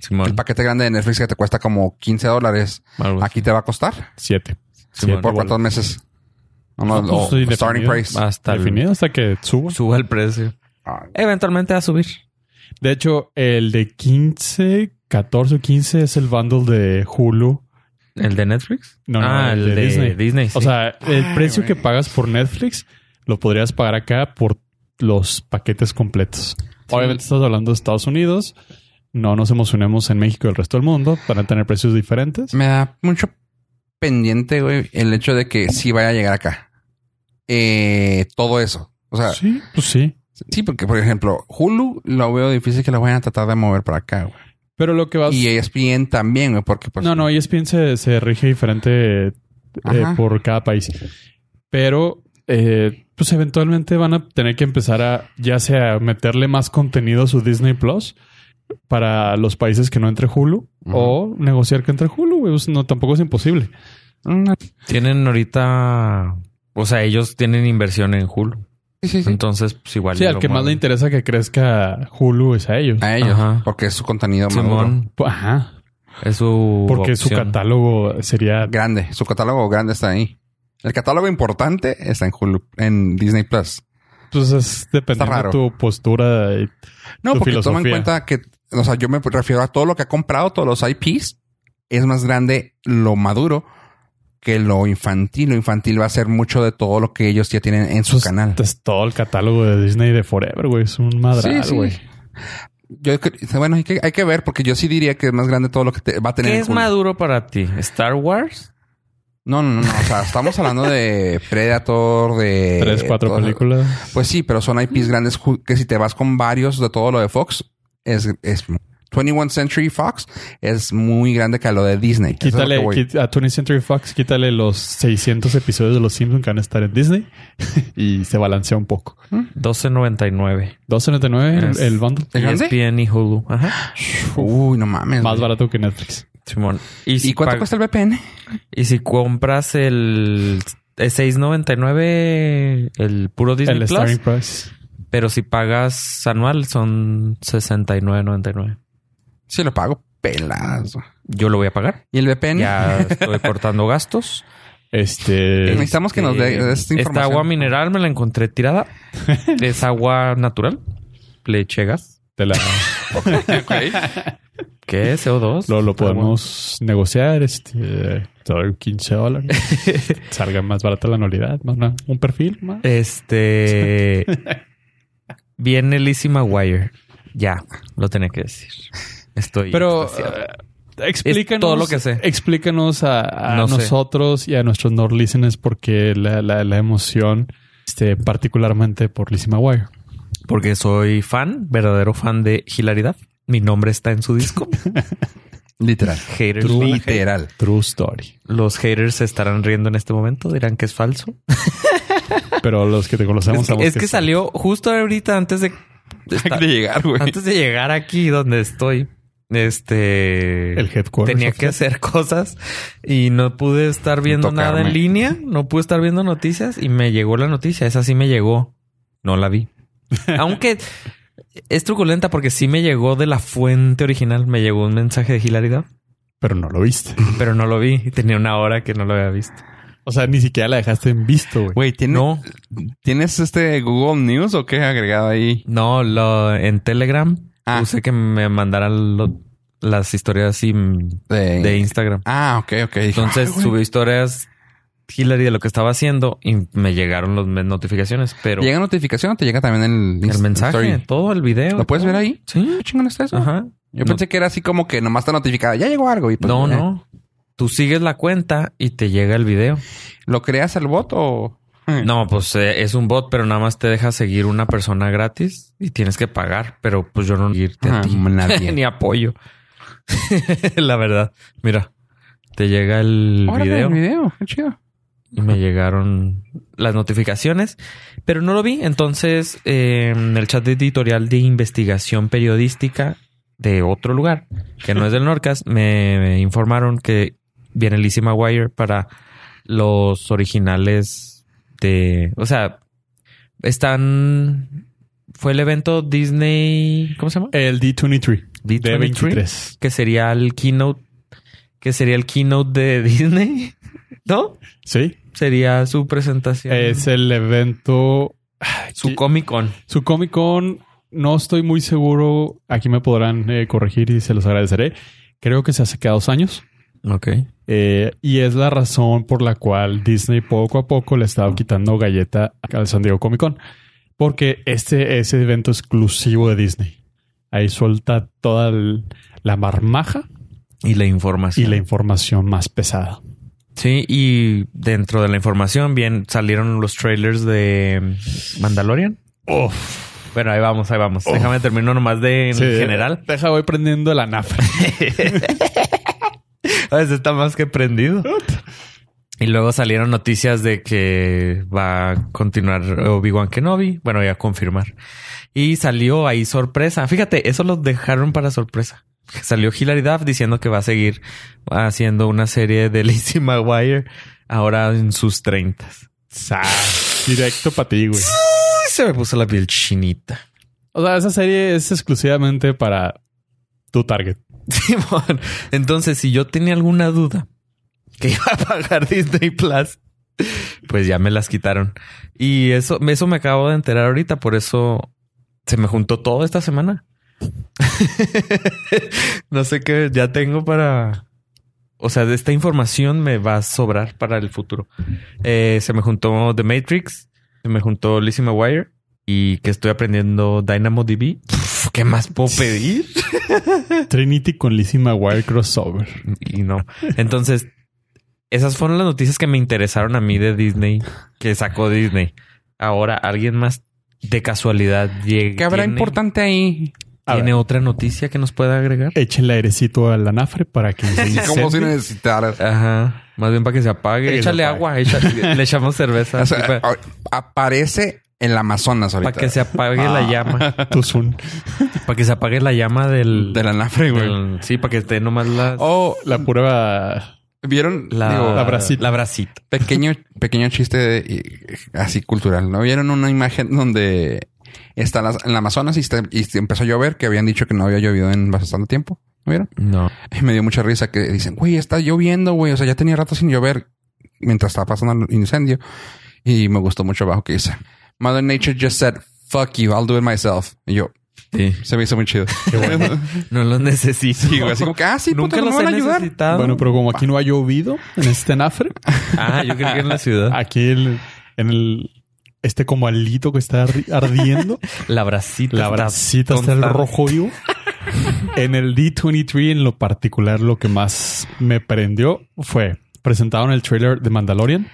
Speaker 3: Simón.
Speaker 1: El paquete grande de Netflix que te cuesta como 15 dólares.
Speaker 2: Pues
Speaker 3: Algo así.
Speaker 1: Aquí te va a costar
Speaker 2: Siete.
Speaker 3: Simón.
Speaker 1: por cuántos meses. No, no,
Speaker 2: No, pues,
Speaker 1: o
Speaker 2: sí,
Speaker 1: starting
Speaker 2: definido.
Speaker 1: price.
Speaker 3: Hasta el-
Speaker 2: Definido hasta que suba.
Speaker 3: suba el precio.
Speaker 1: Ah,
Speaker 3: Eventualmente va a subir.
Speaker 2: De hecho, el de 15 14 o 15 es el bundle de Hulu.
Speaker 3: ¿El de Netflix?
Speaker 2: No, no,
Speaker 3: ah, el, de Disney.
Speaker 2: O
Speaker 3: sí.
Speaker 2: sea, el
Speaker 1: Ay,
Speaker 2: precio
Speaker 1: güey.
Speaker 2: que pagas por Netflix lo podrías pagar acá por los paquetes completos. Obviamente estás hablando de Estados Unidos. No nos emocionemos en México y el resto del mundo para tener precios diferentes.
Speaker 1: Me da mucho pendiente, güey, el hecho de que sí vaya a llegar acá. Eh, todo eso. O sea, sí.
Speaker 2: Sí, pues sí.
Speaker 1: porque, por ejemplo, Hulu lo veo difícil que lo vayan a tratar de mover para acá, güey.
Speaker 2: Pero lo que vas...
Speaker 1: Y E ESPN también, güey, porque... pues,
Speaker 2: no, no, E ESPN se, se rige diferente eh,
Speaker 1: Ajá.
Speaker 2: por cada país. Pero, eh, pues eventualmente van a tener que empezar a, ya sea meterle más contenido a su Disney Plus para los países que no entre Hulu
Speaker 1: Ujú.
Speaker 2: o negociar que entre Hulu. güey. Pues no, tampoco es imposible.
Speaker 1: Mm,
Speaker 3: Tienen ahorita... O sea, ellos tienen inversión en Hulu.
Speaker 1: Sí, sí, sí.
Speaker 3: Entonces, pues igual...
Speaker 2: Sí,
Speaker 3: y
Speaker 2: al
Speaker 3: lo
Speaker 2: que más le
Speaker 3: mueven.
Speaker 2: interesa que crezca Hulu es a ellos.
Speaker 1: A ellos.
Speaker 3: Ajá.
Speaker 1: Porque es su contenido maduro.
Speaker 3: Simón
Speaker 2: Pu- Ajá.
Speaker 3: es su
Speaker 2: Porque su
Speaker 3: opción.
Speaker 2: catálogo sería
Speaker 1: Grande. Su catálogo grande está ahí. El catálogo importante está en Hulu, en Disney Plus.
Speaker 2: Pues es dependiendo
Speaker 1: raro.
Speaker 2: de tu postura. y-
Speaker 1: No,
Speaker 2: Tu
Speaker 1: porque toma en
Speaker 2: filosofía.
Speaker 1: cuenta que, o sea, yo me refiero a todo lo que ha comprado, todos los IPs, es más grande lo maduro que lo infantil. Lo infantil va a ser mucho de todo lo que ellos ya tienen en su
Speaker 2: pues,
Speaker 1: canal.
Speaker 2: Es todo el catálogo de Disney de Forever, güey. Es un madral,
Speaker 1: Sí, sí.
Speaker 2: güey.
Speaker 1: Yo, cre- bueno, hay que, hay que ver porque yo sí diría que es más grande todo lo que te- va a tener.
Speaker 3: ¿Qué
Speaker 1: en
Speaker 3: es
Speaker 1: Hulu.
Speaker 3: maduro para ti? ¿Star Wars?
Speaker 1: No, no, no, no. O sea, estamos hablando de Predator, de...
Speaker 2: Tres, cuatro
Speaker 1: Eh, todo-
Speaker 2: películas.
Speaker 1: Pues sí, pero son IPs grandes ju- que si te vas con varios de todo lo de Fox, es, es 21 Century Fox es muy grande que lo de Disney. Eso es lo
Speaker 2: Quítale
Speaker 1: que voy.
Speaker 2: quit- a 20th Century Fox, quítale los 600 episodios de Los Simpsons que van a estar en Disney y se balancea un poco.
Speaker 3: 12.99.
Speaker 2: 2.99
Speaker 3: Es-
Speaker 2: el, el bundle.
Speaker 1: ¿El grande?
Speaker 3: ESPN y Hulu. Ajá.
Speaker 1: Uy, no mames.
Speaker 2: Más
Speaker 1: güey.
Speaker 2: barato que Netflix.
Speaker 3: Simón.
Speaker 1: ¿Y,
Speaker 3: si
Speaker 1: cuánto
Speaker 3: pag-
Speaker 1: cuesta el VPN?
Speaker 3: Y si compras el es 6.99 el puro Disney
Speaker 2: el
Speaker 3: Plus,
Speaker 2: starting price.
Speaker 3: pero si pagas anual son 69.99.
Speaker 1: Sí, lo pago peladas. güey.
Speaker 3: Yo lo voy a pagar.
Speaker 1: ¿Y el VPN?
Speaker 3: Ya estoy cortando gastos.
Speaker 2: Este.
Speaker 1: Necesitamos que nos dé
Speaker 3: Eh,
Speaker 1: esta
Speaker 3: Esta
Speaker 1: información.
Speaker 3: agua mineral me la encontré tirada. es agua natural. Le eché gas.
Speaker 2: te la-
Speaker 3: ¿Qué? ¿CO2?
Speaker 1: Ah,
Speaker 2: lo, lo podemos negociar. Este. Te doy 15 dólares. Salga más barata la anualidad. Más una- un perfil más.
Speaker 3: Este. Viene Lizzie McGuire. Ya, lo tenía que decir. Estoy.
Speaker 2: Pero
Speaker 3: extasiado.
Speaker 2: eh, explícanos,
Speaker 3: Es todo lo que sé.
Speaker 2: explícanos a, a
Speaker 3: No sé.
Speaker 2: nosotros y a nuestros North listeners por qué la, la- la emoción, este, particularmente por Lizzie McGuire.
Speaker 3: porque soy fan, verdadero fan de Hilaridad. Mi nombre está en su disco.
Speaker 1: Literal.
Speaker 3: Haters.
Speaker 1: Literal.
Speaker 2: True story.
Speaker 3: Los haters se estarán riendo en este momento, dirán que es falso.
Speaker 2: Pero los que te conocemos
Speaker 3: Es que,
Speaker 2: sabemos
Speaker 3: es que
Speaker 2: sí.
Speaker 3: salió justo ahorita antes de,
Speaker 1: Hay que llegar, güey.
Speaker 3: antes de llegar aquí donde estoy. Este
Speaker 2: el headquarters.
Speaker 3: tenía que hacer cosas y no pude estar viendo nada en
Speaker 1: Tocarme.
Speaker 3: línea, no pude estar viendo noticias y me llegó la noticia, esa sí me llegó, no la vi. Aunque es truculenta porque sí me llegó de la fuente original, me llegó un mensaje de hilaridad,
Speaker 2: pero no lo viste.
Speaker 3: pero no lo vi, tenía una hora que no lo había visto.
Speaker 2: O sea, ni siquiera la dejaste en visto, güey.
Speaker 1: Güey, ¿tiene-
Speaker 3: No,
Speaker 1: ¿tienes este Google News o qué agregado ahí?
Speaker 3: no, lo, en Telegram
Speaker 1: Ah.
Speaker 3: puse que me mandaran lo- las historias y-
Speaker 1: De,
Speaker 3: de Instagram.
Speaker 1: Ah, ok, ok.
Speaker 3: Entonces
Speaker 1: Ay, güey.
Speaker 3: subí historias Hillary de lo que estaba haciendo y me llegaron las me- notificaciones, pero
Speaker 1: ¿Llega notificación o te llega también el,
Speaker 3: el
Speaker 1: Insta-
Speaker 3: mensaje,
Speaker 1: story?
Speaker 3: todo el video.
Speaker 1: ¿Lo puedes
Speaker 3: todo.
Speaker 1: ver ahí?
Speaker 3: Sí.
Speaker 1: ¿Qué chingón está eso?
Speaker 3: Ajá.
Speaker 1: Yo
Speaker 3: No-
Speaker 1: pensé que era así como que nomás está notificada. Ya llegó algo. Y pues,
Speaker 3: no,
Speaker 1: eh.
Speaker 3: no. Tú sigues la cuenta y te llega el video.
Speaker 1: ¿Lo creas el bot o...?
Speaker 3: No, pues eh, es un bot, pero nada más te deja seguir una persona gratis y tienes que pagar, pero pues yo no irte
Speaker 1: Ah,
Speaker 3: a ti.
Speaker 1: nadie.
Speaker 3: Ni apoyo. la verdad. Mira, te llega el
Speaker 1: Órale,
Speaker 3: video.
Speaker 1: el video. Qué chido.
Speaker 3: y me llegaron las notificaciones, pero no lo vi. Entonces, eh, en el chat editorial de investigación periodística de otro lugar, que no es del Norcas, me, me informaron que viene Lizzie McGuire para los originales de... O sea, están... Fue el evento Disney... ¿Cómo se llama?
Speaker 2: El D23. D23.
Speaker 3: Que sería el keynote... Que sería el keynote de Disney, ¿no?
Speaker 2: Sí.
Speaker 3: sería su presentación.
Speaker 2: Es el evento.
Speaker 3: su Comic Con.
Speaker 2: Su Comic Con no estoy muy seguro. Aquí me podrán eh, corregir y se los agradeceré. Creo que se hace cada dos años.
Speaker 3: Ok.
Speaker 2: Eh, y es la razón por la cual Disney poco a poco le ha estado quitando galleta al San Diego Comic Con. Porque este es evento exclusivo de Disney. Ahí suelta toda el- la marmaja
Speaker 3: Y la
Speaker 2: y
Speaker 3: información.
Speaker 2: la información más pesada.
Speaker 3: Sí, y dentro de la información, bien, salieron los trailers de Mandalorian. Bueno, ahí vamos, ahí vamos. Déjame terminar nomás de en
Speaker 2: Sí,
Speaker 3: general.
Speaker 2: Deja, voy prendiendo la nafra.
Speaker 3: A veces está más que prendido. Y luego salieron noticias de que va a continuar Obi-Wan Kenobi. Bueno, ya confirmar. Y salió ahí sorpresa. Fíjate, eso lo dejaron para sorpresa. Salió Hilary Duff diciendo que va a seguir haciendo una serie de Lizzie McGuire ahora en sus treintas.
Speaker 2: Sas. Directo para ti, güey.
Speaker 3: Uy, se me puso la piel chinita.
Speaker 2: O sea, esa serie es exclusivamente para tu target.
Speaker 3: Simón. Entonces, si yo tenía alguna duda que iba a pagar Disney Plus, pues ya me las quitaron. Y eso, eso me acabo de enterar ahorita, por eso se me juntó todo esta semana. no sé qué ya tengo para. O sea, de esta información me va a sobrar para el futuro. Eh, se me juntó The Matrix, se me juntó Lizzie McGuire y que estoy aprendiendo DynamoDB. Pff, ¿Qué más puedo pedir?
Speaker 2: Trinity con Lizzie McGuire crossover.
Speaker 3: y no. Entonces, esas fueron las noticias que me interesaron a mí de Disney, que sacó Disney. Ahora, alguien más de casualidad llegue.
Speaker 1: ¿Qué habrá
Speaker 3: tiene-
Speaker 1: importante ahí?
Speaker 2: A
Speaker 3: ¿Tiene
Speaker 2: ver.
Speaker 3: otra noticia que nos pueda agregar?
Speaker 2: Échale airecito al anafre para que se
Speaker 1: Como si
Speaker 2: incendie.
Speaker 1: necesitaras.
Speaker 3: Ajá. Más bien para que se apague.
Speaker 2: Para que se
Speaker 3: échale
Speaker 2: apague.
Speaker 3: agua, échale- le echamos cerveza.
Speaker 1: O sea,
Speaker 3: para,
Speaker 1: a- aparece en la Amazonas ahorita.
Speaker 3: que se apague la llama.
Speaker 2: Tu Zoom.
Speaker 3: Para que se apague la llama del.
Speaker 1: Del anafre, güey.
Speaker 3: del- sí, para que esté nomás la.
Speaker 1: Oh,
Speaker 2: La pura...
Speaker 1: ¿vieron?
Speaker 3: la,
Speaker 1: Digo,
Speaker 2: la bracita.
Speaker 3: La bracita.
Speaker 1: pequeño, pequeño chiste de- y- así cultural. ¿No vieron una imagen donde está las- en la Amazonas y, está- y empezó a llover? Que habían dicho que no había llovido en bastante tiempo. ¿No vieron?
Speaker 3: No.
Speaker 1: Y me dio mucha risa que dicen, güey, está lloviendo, güey. O sea, ya tenía rato sin llover mientras estaba pasando el incendio. Y me gustó mucho abajo que dice, Mother Nature just said, fuck you, I'll do it myself. Y yo,
Speaker 3: Sí.
Speaker 1: se me hizo muy chido.
Speaker 3: No lo necesito.
Speaker 1: Y güey, así como que, ah, sí, puta,
Speaker 3: Nunca
Speaker 1: no
Speaker 3: los
Speaker 1: me
Speaker 3: he
Speaker 1: van a ayudar.
Speaker 3: necesitado.
Speaker 2: Bueno, pero como aquí no ha llovido en este anafre,
Speaker 3: ah, yo creo que en la ciudad.
Speaker 2: aquí el- en el... Este como alito que está ardi- ardiendo.
Speaker 3: La bracita.
Speaker 2: La bracita está el
Speaker 3: constante.
Speaker 2: rojo vivo. En el D23, en lo particular, lo que más me prendió fue... Presentaron el trailer de Mandalorian.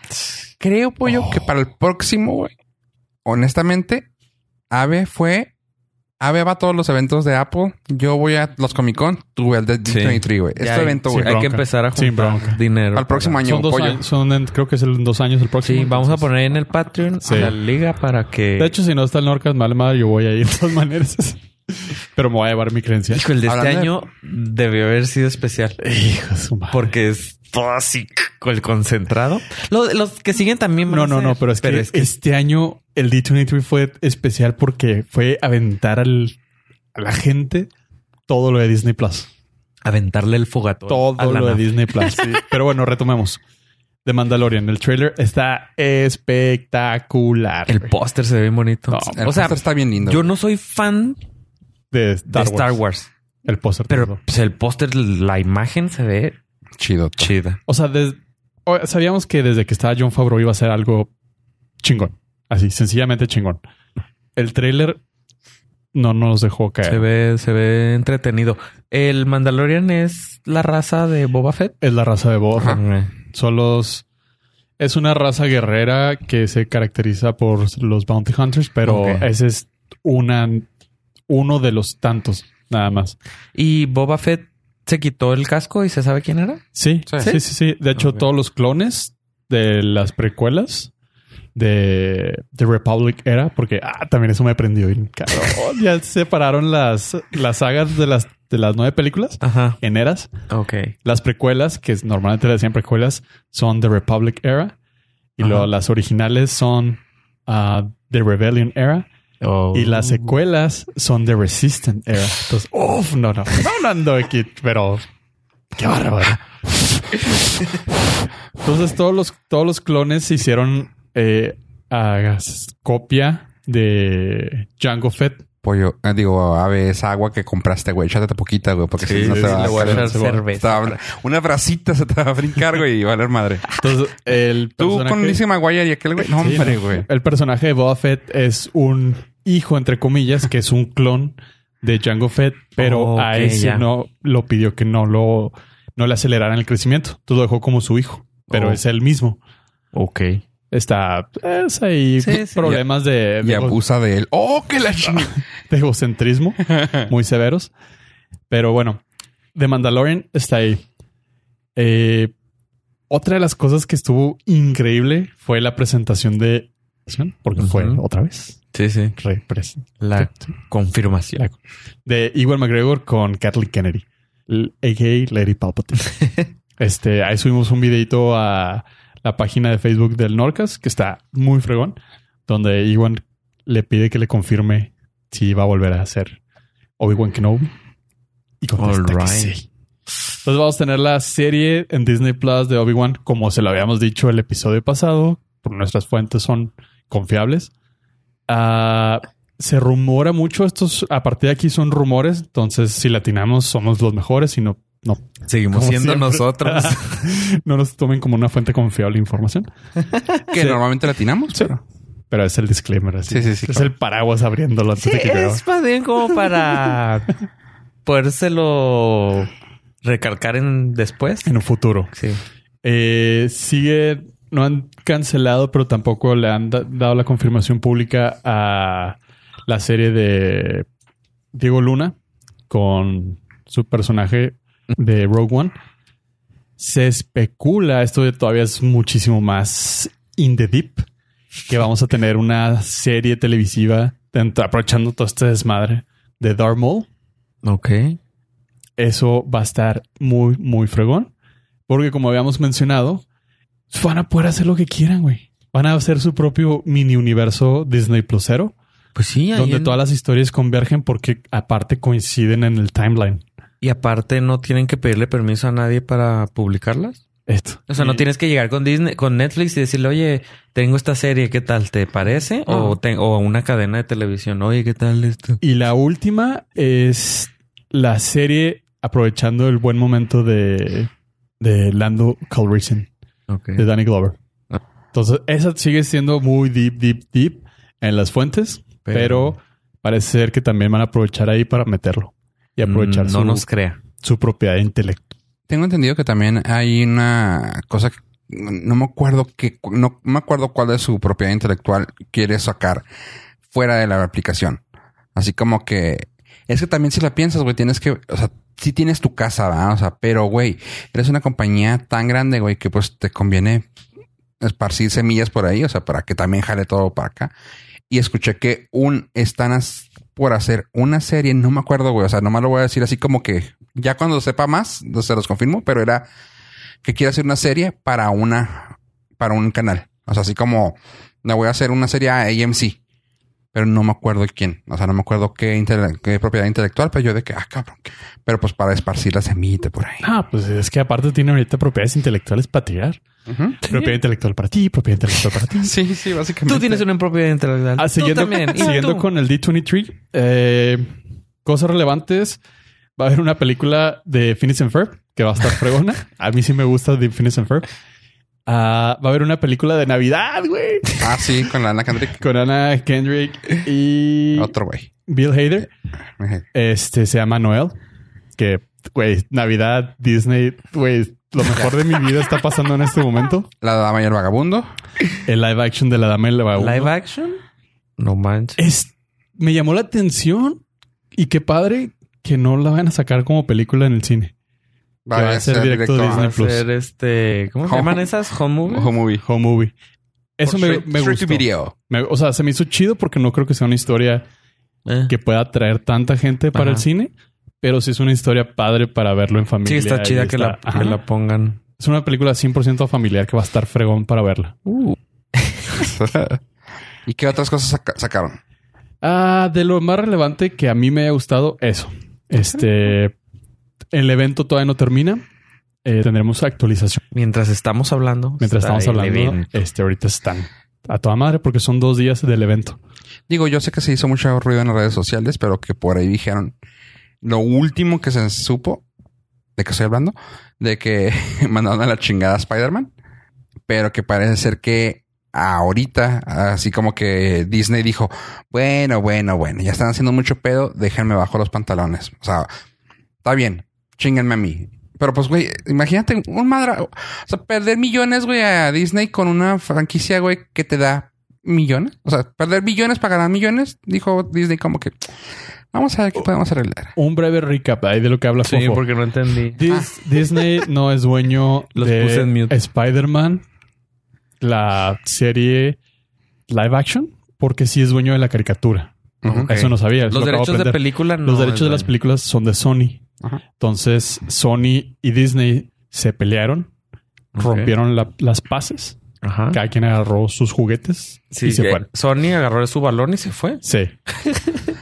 Speaker 1: Creo, pollo, que
Speaker 3: Oh.
Speaker 1: para el próximo, güey. Honestamente, Ave fue. Ave va a todos los eventos de Apple. Yo voy a los Comic Con. Tuve el de
Speaker 3: Sí.
Speaker 1: D23, güey. Este
Speaker 3: Ya,
Speaker 1: evento,
Speaker 2: sí,
Speaker 1: güey.
Speaker 2: Sin
Speaker 3: Hay que
Speaker 2: bronca.
Speaker 3: empezar a
Speaker 2: Sin bronca.
Speaker 3: juntar dinero.
Speaker 1: Al próximo año,
Speaker 2: Son dos
Speaker 1: pollo.
Speaker 2: años, son en- creo que es en dos años el próximo.
Speaker 3: Sí, vamos a
Speaker 2: entonces.
Speaker 3: poner en el Patreon
Speaker 2: Sí.
Speaker 3: a la liga para que.
Speaker 2: De hecho, si no está el Norcas mal madre, yo voy a ir de todas maneras. Pero me voy a llevar mi credencial.
Speaker 3: hijo, el de este
Speaker 1: Hablando de-
Speaker 3: año debió haber sido especial
Speaker 2: Hijo de su madre.
Speaker 3: porque es todo así con el concentrado. Lo- Los, que siguen también. van
Speaker 2: No,
Speaker 3: a
Speaker 2: no,
Speaker 3: ser,
Speaker 2: no, pero es, que,
Speaker 3: es que
Speaker 2: este año el D23 fue especial porque fue aventar al, a la gente todo lo de Disney Plus.
Speaker 3: aventarle el fogatón. a
Speaker 2: Todo
Speaker 3: la
Speaker 2: lo de
Speaker 3: nave.
Speaker 2: Disney Plus. Pero bueno, retomemos. The Mandalorian, el trailer está espectacular.
Speaker 3: El póster se ve bien bonito.
Speaker 2: No,
Speaker 1: El
Speaker 3: o sea,
Speaker 1: póster está bien lindo.
Speaker 3: yo no soy fan
Speaker 2: de
Speaker 3: de
Speaker 2: Star,
Speaker 3: Star
Speaker 2: Wars.
Speaker 3: Wars,
Speaker 2: El póster.
Speaker 3: pero
Speaker 2: perdón.
Speaker 3: pues, el póster, la imagen se ve
Speaker 1: Chido.
Speaker 3: chida.
Speaker 2: O sea, des- o- sabíamos que desde que estaba John Favreau iba a ser algo chingón. Así, sencillamente chingón. El trailer no nos dejó caer.
Speaker 3: Se ve, se ve entretenido. El Mandalorian es la raza de Boba Fett.
Speaker 2: Es la raza de Boba Fett.
Speaker 3: Ajá.
Speaker 2: Son los... Es una raza guerrera que se caracteriza por los Bounty Hunters, pero
Speaker 3: Ok.
Speaker 2: ese es una, uno de los tantos, nada más.
Speaker 3: Y Boba Fett se quitó el casco y se sabe quién era.
Speaker 2: Sí,
Speaker 1: Sí.
Speaker 2: sí, sí, sí. De hecho,
Speaker 3: Ok.
Speaker 2: todos los clones de las precuelas de The Republic era, porque ah, también eso me prendió bien, cabrón. ya separaron las, las sagas de las, de las nueve películas
Speaker 3: Ajá.
Speaker 2: en eras.
Speaker 3: Ok.
Speaker 2: Las precuelas, que normalmente le decían precuelas, son The Republic Era. Y
Speaker 3: Ajá.
Speaker 2: luego las originales son ah, The Rebellion Era.
Speaker 3: Oh.
Speaker 2: Y
Speaker 1: Oh.
Speaker 2: las secuelas son The Resistant Era. Entonces, uff, no, no. No, no ando aquí, pero qué bárbaro. Entonces, todos los, todos los clones hicieron eh, a- copia de Django Fett
Speaker 1: pollo, eh, digo, ave, es agua que compraste, güey. Échate poquita, güey, porque si
Speaker 4: Sí,
Speaker 1: no
Speaker 4: sí,
Speaker 1: se
Speaker 4: sí,
Speaker 1: va
Speaker 4: le voy a
Speaker 1: hacer-
Speaker 4: echar
Speaker 1: se va-
Speaker 3: cerveza.
Speaker 1: se va a- Una bracita se te va a brincar, güey, y valer madre.
Speaker 2: Entonces, el
Speaker 1: Tú
Speaker 2: personaje-
Speaker 1: con Lizzie McGuire y aquel
Speaker 3: Pues,
Speaker 1: güey. No,
Speaker 2: Sí,
Speaker 1: hombre,
Speaker 2: no.
Speaker 1: güey.
Speaker 2: El personaje de Boba Fett es un hijo, entre comillas, que es un clon de Django Fett, pero
Speaker 3: Oh,
Speaker 2: a
Speaker 3: ok,
Speaker 2: ese
Speaker 3: ya.
Speaker 2: no lo pidió que no lo no le aceleraran el crecimiento. Tú lo dejó como su hijo, pero
Speaker 4: Oh.
Speaker 2: es él mismo.
Speaker 4: Ok.
Speaker 2: Está es ahí
Speaker 3: Sí, sí.
Speaker 2: problemas de,
Speaker 1: Y
Speaker 2: de ego-
Speaker 1: abusa de él. ¡Oh, que la chingada!
Speaker 2: de egocentrismo muy severos. Pero bueno, The Mandalorian está ahí. Eh, otra de las cosas que estuvo increíble fue la presentación de... Porque fue
Speaker 3: Ujú.
Speaker 2: otra vez.
Speaker 3: Sí, sí.
Speaker 2: Repres
Speaker 3: La confirmación.
Speaker 2: de Iwan McGregor con Kathleen Kennedy, l- a.k.a. Lady Palpatine. este, ahí subimos un videito a la página de Facebook del Norcas, que está muy fregón, donde Iwan le pide que le confirme si va a volver a ser Obi-Wan Kenobi. Y contesta
Speaker 3: All
Speaker 2: que
Speaker 3: right.
Speaker 2: sí. Entonces vamos a tener la serie en Disney Plus de Obi-Wan, como se lo habíamos dicho el episodio pasado, por nuestras fuentes son confiables. Ah, se rumora mucho estos, a partir de aquí son rumores, entonces si latinamos somos los mejores, si no, no,
Speaker 3: Seguimos
Speaker 2: Como
Speaker 3: siendo
Speaker 2: siempre.
Speaker 3: nosotros.
Speaker 2: no nos tomen como una fuente confiable de información.
Speaker 1: Que
Speaker 2: Sí.
Speaker 1: normalmente latinamos,
Speaker 2: Sí.
Speaker 1: pero...
Speaker 2: Pero es el disclaimer, así.
Speaker 1: Sí, sí, sí,
Speaker 2: Es
Speaker 1: claro.
Speaker 2: el paraguas abriéndolo antes
Speaker 3: Sí,
Speaker 2: de que llueva.
Speaker 3: es más bien como para podérselo recalcar en después.
Speaker 2: En un futuro.
Speaker 3: Sí.
Speaker 2: Eh, sigue, no han cancelado, pero tampoco le han da- dado la confirmación pública a la serie de Diego Luna con su personaje de Rogue One. Se especula, esto todavía es muchísimo más in the deep, que vamos a tener una serie televisiva dentro- aprovechando todo este desmadre de Darth Maul.
Speaker 3: Ok.
Speaker 2: Eso va a estar muy, muy fregón. Porque como habíamos mencionado, van a poder hacer lo que quieran, güey. Van a hacer su propio mini universo Disney Plusero,
Speaker 3: Pues sí, ahí
Speaker 2: donde
Speaker 3: en-
Speaker 2: todas las historias convergen porque aparte coinciden en el timeline.
Speaker 3: y aparte no tienen que pedirle permiso a nadie para publicarlas.
Speaker 2: Esto.
Speaker 3: O sea, no
Speaker 2: Y-
Speaker 3: tienes que llegar con Disney, con Netflix y decirle, oye, tengo esta serie, ¿qué tal? ¿Te parece? O, te- o una cadena de televisión, oye, ¿qué tal esto?
Speaker 2: Y la última es la serie aprovechando el buen momento de, de Lando Calrissian.
Speaker 3: Ok.
Speaker 2: de Danny Glover.
Speaker 3: Ah.
Speaker 2: Entonces, esa sigue siendo muy deep, deep, deep en las fuentes, pero,
Speaker 3: Pero-
Speaker 2: parece ser que también van a aprovechar ahí para meterlo y aprovechar
Speaker 3: Mm,
Speaker 2: su,
Speaker 3: No nos crea.
Speaker 2: su propiedad intelectual.
Speaker 1: Tengo entendido que también hay una cosa que no me acuerdo que no me acuerdo cuál de su propiedad intelectual quiere sacar fuera de la aplicación. Así como que es que también si la piensas, güey, tienes que, o sea, sí tienes tu casa, ¿verdad? o sea, pero güey, eres una compañía tan grande, güey, que pues te conviene esparcir semillas por ahí, o sea, para que también jale todo para acá. Y escuché que un están as- por hacer una serie, no me acuerdo, güey, o sea, nomás lo voy a decir así como que ya cuando sepa más, no se los confirmo, pero era que quiere hacer una serie para una, para un canal. O sea, así como la voy a hacer una serie a AMC, pero no me acuerdo quién. O sea, no me acuerdo qué, intele- qué propiedad intelectual, pero yo de que, ah, cabrón. Pero pues para esparcir la semillita por ahí.
Speaker 2: Ah, pues es que aparte tiene ahorita propiedades intelectuales para tirar.
Speaker 1: Ujú.
Speaker 2: Propiedad intelectual para ti, propiedad intelectual para ti.
Speaker 1: Sí, sí, básicamente.
Speaker 3: Tú tienes una propiedad intelectual.
Speaker 2: Ah,
Speaker 3: Tú
Speaker 2: siguiendo
Speaker 3: también. Y
Speaker 2: siguiendo
Speaker 3: tú.
Speaker 2: con el D23, eh, cosas relevantes. Va a haber una película de Phineas and Ferb que va a estar fregona. a mí sí me gusta de Phineas and Ferb. Ah, va a haber una película de Navidad, güey.
Speaker 1: Ah, sí, con la Ana Kendrick.
Speaker 2: Con Anna Kendrick y
Speaker 1: Otro güey.
Speaker 2: Bill Hader. Este se llama Noel. Que, güey, Navidad, Disney, güey, lo mejor de mi vida está pasando en este momento.
Speaker 1: La dama y el vagabundo.
Speaker 2: El live action de la dama y el vagabundo.
Speaker 3: Live action. No manches.
Speaker 2: Es, me llamó la atención y qué padre que no la van a sacar como película en el cine.
Speaker 1: Va
Speaker 2: Que va a ser directo
Speaker 1: a-
Speaker 2: Disney
Speaker 3: Va a
Speaker 2: Plus.
Speaker 3: ser este. ¿Cómo se
Speaker 1: Home-
Speaker 3: llaman esas? Home movies?
Speaker 1: Ojo movie.
Speaker 2: Home movie. Eso
Speaker 1: Por
Speaker 2: me,
Speaker 1: straight-
Speaker 2: me
Speaker 1: straight to
Speaker 2: gustó.
Speaker 1: video.
Speaker 2: Me- o sea, se me hizo chido porque no creo que sea una historia
Speaker 3: Eh.
Speaker 2: que pueda atraer tanta gente para
Speaker 3: Ajá.
Speaker 2: el cine, pero sí es una historia padre para verlo en familia.
Speaker 3: Sí, está
Speaker 2: y
Speaker 3: chida que, la,
Speaker 2: está- ajá.
Speaker 3: que la pongan.
Speaker 2: Es una película 100% familiar que va a estar fregón para verla.
Speaker 1: ¿Y qué otras cosas saca- sacaron?
Speaker 2: Ah, de lo más relevante que a mí me ha gustado, eso. Este, el evento todavía no termina. Eh, tendremos actualización.
Speaker 3: Mientras estamos hablando.
Speaker 2: Mientras
Speaker 3: está
Speaker 2: estamos
Speaker 3: ahí el
Speaker 2: hablando,
Speaker 3: evento.
Speaker 2: este, ahorita están a toda madre porque son dos días del evento.
Speaker 1: Digo, yo sé que se hizo mucho ruido en las redes sociales, pero que por ahí dijeron lo último que se supo de que estoy hablando, de que mandaron a la chingada a Spider-Man, pero que parece ser que ahorita, así como que Disney dijo, bueno, bueno, bueno, ya están haciendo mucho pedo, déjenme bajo los pantalones. O sea, está bien, chinganme a mí. Pero pues, güey, imagínate un madra... O sea, perder millones, güey, a Disney con una franquicia, güey, que te da millones. O sea, perder millones para ganar millones, dijo Disney como que... Vamos a ver qué podemos arreglar.
Speaker 2: Un breve recap ahí de lo que hablas.
Speaker 4: Sí, porque no entendí.
Speaker 2: Dis- Disney no es dueño
Speaker 3: Los
Speaker 2: de
Speaker 3: puse en mute.
Speaker 2: Spider-Man, la serie live action, porque sí es dueño de la caricatura.
Speaker 1: Ujú.
Speaker 2: Eso no sabía. eso
Speaker 3: Los
Speaker 2: lo acabo
Speaker 3: derechos de
Speaker 2: aprender.
Speaker 3: película no.
Speaker 2: Los derechos
Speaker 3: es
Speaker 2: de las
Speaker 3: dueño.
Speaker 2: películas son de Sony.
Speaker 1: Ajá.
Speaker 2: Entonces, Sony y Disney se pelearon,
Speaker 3: Ok.
Speaker 2: rompieron la- las paces.
Speaker 3: Ajá.
Speaker 2: Cada quien agarró sus juguetes
Speaker 3: Sí,
Speaker 2: y se
Speaker 3: que
Speaker 2: fueron.
Speaker 3: Sony agarró su balón y se fue.
Speaker 2: Sí.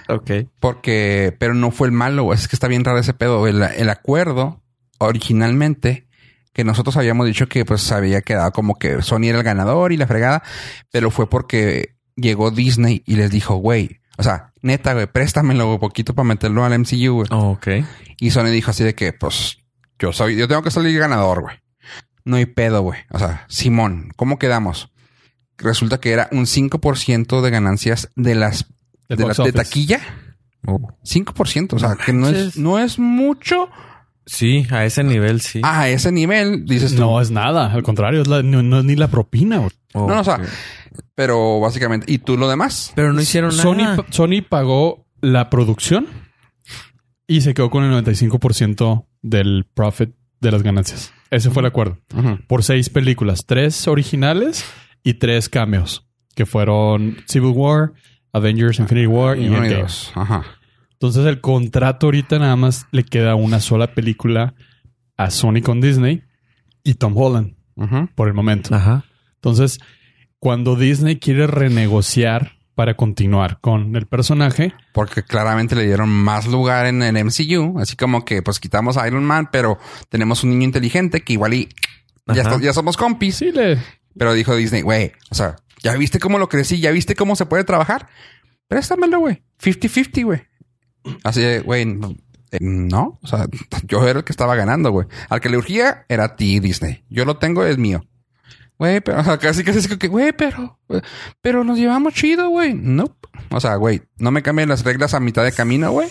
Speaker 3: Ok.
Speaker 1: Porque, pero no fue el malo, güey. Es que está bien raro ese pedo. El, el acuerdo originalmente que nosotros habíamos dicho que pues había quedado como que Sony era el ganador y la fregada, pero fue porque llegó Disney y les dijo, güey, o sea, neta, güey, préstamelo un poquito para meterlo al MCU, güey.
Speaker 3: Ok.
Speaker 1: Y Sony dijo así de que, pues, yo soy, yo tengo que salir ganador, güey. No hay pedo, güey. O sea, Simón, ¿cómo quedamos? Resulta que era un 5% de ganancias de las
Speaker 2: Del
Speaker 1: de, la,
Speaker 2: box
Speaker 1: de
Speaker 2: office.
Speaker 1: taquilla. Oh. 5%, o sea, que no es,
Speaker 3: manches.
Speaker 1: no es mucho
Speaker 3: Sí, a ese nivel sí.
Speaker 1: a ese nivel, dices tú.
Speaker 2: No es nada. Al contrario, es la- no, no es ni la propina. güey.
Speaker 3: Ok.
Speaker 1: no, o sea, Pero básicamente, ¿y tú lo demás?
Speaker 3: pero no hicieron
Speaker 2: Sony,
Speaker 3: nada.
Speaker 2: pa- Sony pagó la producción y se quedó con el 95% del profit de las ganancias. Ese fue el acuerdo. Por seis películas, tres originales y tres cameos, que fueron Civil War, Avengers Infinity War y
Speaker 1: Y uno y
Speaker 2: Endgame.
Speaker 1: dos. Ajá.
Speaker 2: Entonces el contrato ahorita nada más le queda una sola película a Sony con Disney y Tom Holland
Speaker 1: Ujú.
Speaker 2: por el momento.
Speaker 3: Ajá.
Speaker 2: Entonces, cuando Disney quiere renegociar para continuar con el personaje,
Speaker 1: Porque claramente le dieron más lugar en el MCU. Así como que, pues, quitamos a Iron Man, pero tenemos un niño inteligente que igual y... Ya,
Speaker 3: Ajá.
Speaker 1: está- ya somos compis.
Speaker 2: sí le
Speaker 1: Pero dijo Disney, güey, o sea, ¿ya viste cómo lo crecí? ¿Ya viste cómo se puede trabajar? Préstamelo, güey. 50-50, güey. Así de, güey, no, eh, no. O sea, yo era el que estaba ganando, güey. Al que le urgía era a ti, Disney. Yo lo tengo, es mío. Güey, pero o sea, casi casi es que, güey, pero, pero nos llevamos chido, güey. No. O sea, güey, no me cambien las reglas a mitad de camino, güey.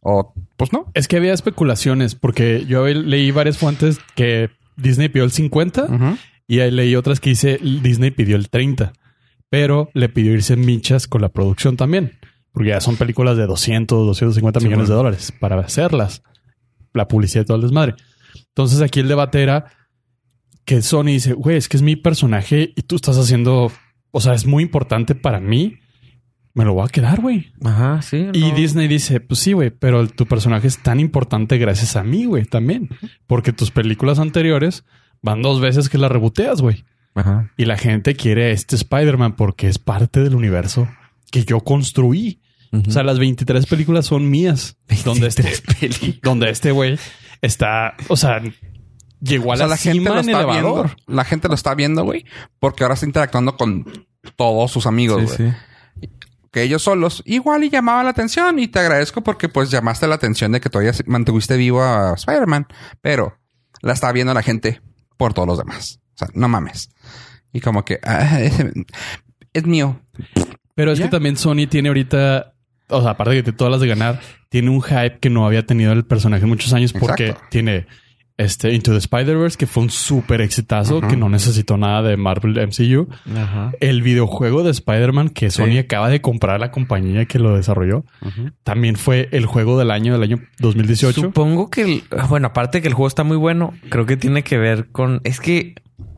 Speaker 1: O, pues no.
Speaker 2: Es que había especulaciones, porque yo leí varias fuentes que Disney pidió el 50
Speaker 1: Ujú.
Speaker 2: y ahí leí otras que dice Disney pidió el 30, pero le pidió irse michas con la producción también, porque ya son películas de 200, 250 millones de dólares para hacerlas, la publicidad y todo el desmadre. Entonces aquí el debate era que Sony dice, güey, es que es mi personaje y tú estás haciendo, o sea, es muy importante para mí, me lo voy a quedar, güey.
Speaker 3: Ajá, sí.
Speaker 2: Y
Speaker 3: no.
Speaker 2: Disney dice, pues sí, güey, pero tu personaje es tan importante gracias a mí, güey, también. Porque tus películas anteriores van dos veces que las reboteas, güey.
Speaker 3: Ajá.
Speaker 2: Y la gente quiere a este Spider-Man porque es parte del universo que yo construí. O sea, las 23 películas son mías. Donde este, donde este güey está, o sea, llegó a
Speaker 1: O sea,
Speaker 2: la,
Speaker 1: la gente
Speaker 2: cima
Speaker 1: lo
Speaker 2: en
Speaker 1: está
Speaker 2: elevador.
Speaker 1: viendo. La gente lo está viendo, güey. Porque ahora está interactuando con todos sus amigos,
Speaker 3: Sí,
Speaker 1: güey.
Speaker 3: sí.
Speaker 1: que ellos solos, igual y llamaba la atención. Y te agradezco porque pues llamaste la atención de que todavía se- mantuviste vivo a Spider-Man. Pero la está viendo la gente por todos los demás. O sea, no mames. Y como que ah, es, es mío.
Speaker 2: Pero es
Speaker 1: Ya.
Speaker 2: que también Sony tiene ahorita, o sea, aparte de que tiene todas las de ganar, tiene un hype que no había tenido el personaje en muchos años porque
Speaker 1: Exacto.
Speaker 2: tiene este Into the Spider-Verse, que fue un súper exitazo,
Speaker 1: Ujú.
Speaker 2: que no necesitó nada de Marvel MCU.
Speaker 3: Ajá.
Speaker 2: El videojuego de Spider-Man, que
Speaker 3: Sí.
Speaker 2: Sony acaba de comprar a la compañía que lo desarrolló, también fue el juego del año, del año 2018.
Speaker 3: Supongo que, el- ah, bueno, aparte de que el juego está muy bueno, creo que tiene que ver con. Es que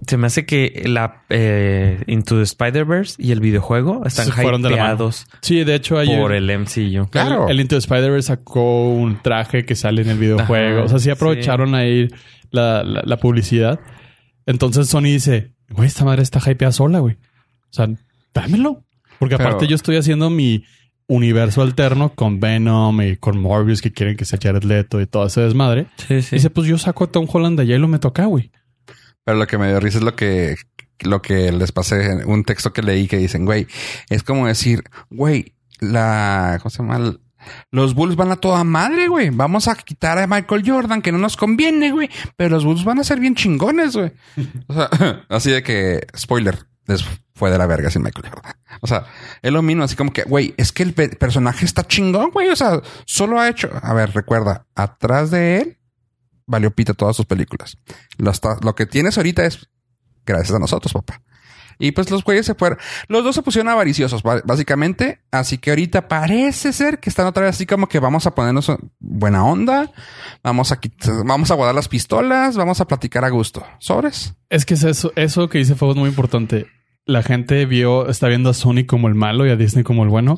Speaker 3: se me hace que la eh, Into the Spider-Verse y el videojuego están
Speaker 2: Se fueron de la mano.
Speaker 3: hypeados
Speaker 2: sí, de hecho, ayer.
Speaker 3: por el MCU.
Speaker 1: Claro.
Speaker 2: El, el Into the Spider-Verse sacó un traje que sale en el videojuego.
Speaker 3: Ajá,
Speaker 2: o sea, sí aprovecharon ahí la, la- la publicidad. Entonces Sony dice, güey, esta madre está hypeada sola, güey. O sea, dámelo. Porque
Speaker 1: Pero-
Speaker 2: aparte yo estoy haciendo mi universo alterno con Venom y con Morbius que quieren que sea Jared Leto y todo ese desmadre.
Speaker 3: Sí, sí.
Speaker 2: Dice, pues yo saco a Tom Holland de allá y lo meto acá, güey.
Speaker 1: Pero lo que me dio risa es lo que lo que les pasé, un texto que leí que dicen, güey, es como decir, güey, la, ¿cómo se llama? Los Bulls van a toda madre, güey. Vamos a quitar a Michael Jordan, que no nos conviene, güey. Pero los Bulls van a ser bien chingones, güey. O sea, así de que, spoiler, les fue de la verga sin Michael Jordan. O sea, es lo mismo, así como que, güey, es que el pe- personaje está chingón, güey. O sea, solo ha hecho. A ver, recuerda, atrás de él valió pita todas sus películas. Lo, está- lo que tienes ahorita es gracias a nosotros, papá. Y pues los güeyes se fueron. Los dos se pusieron avariciosos, ba- básicamente. Así que ahorita parece ser que están otra vez así como que vamos a ponernos buena onda. Vamos a, quit- vamos a guardar las pistolas. Vamos a platicar a gusto. ¿Sobres?
Speaker 2: Es que es eso, eso que dice Fabos es muy importante. La gente vio, está viendo a Sony como el malo y a Disney como el bueno.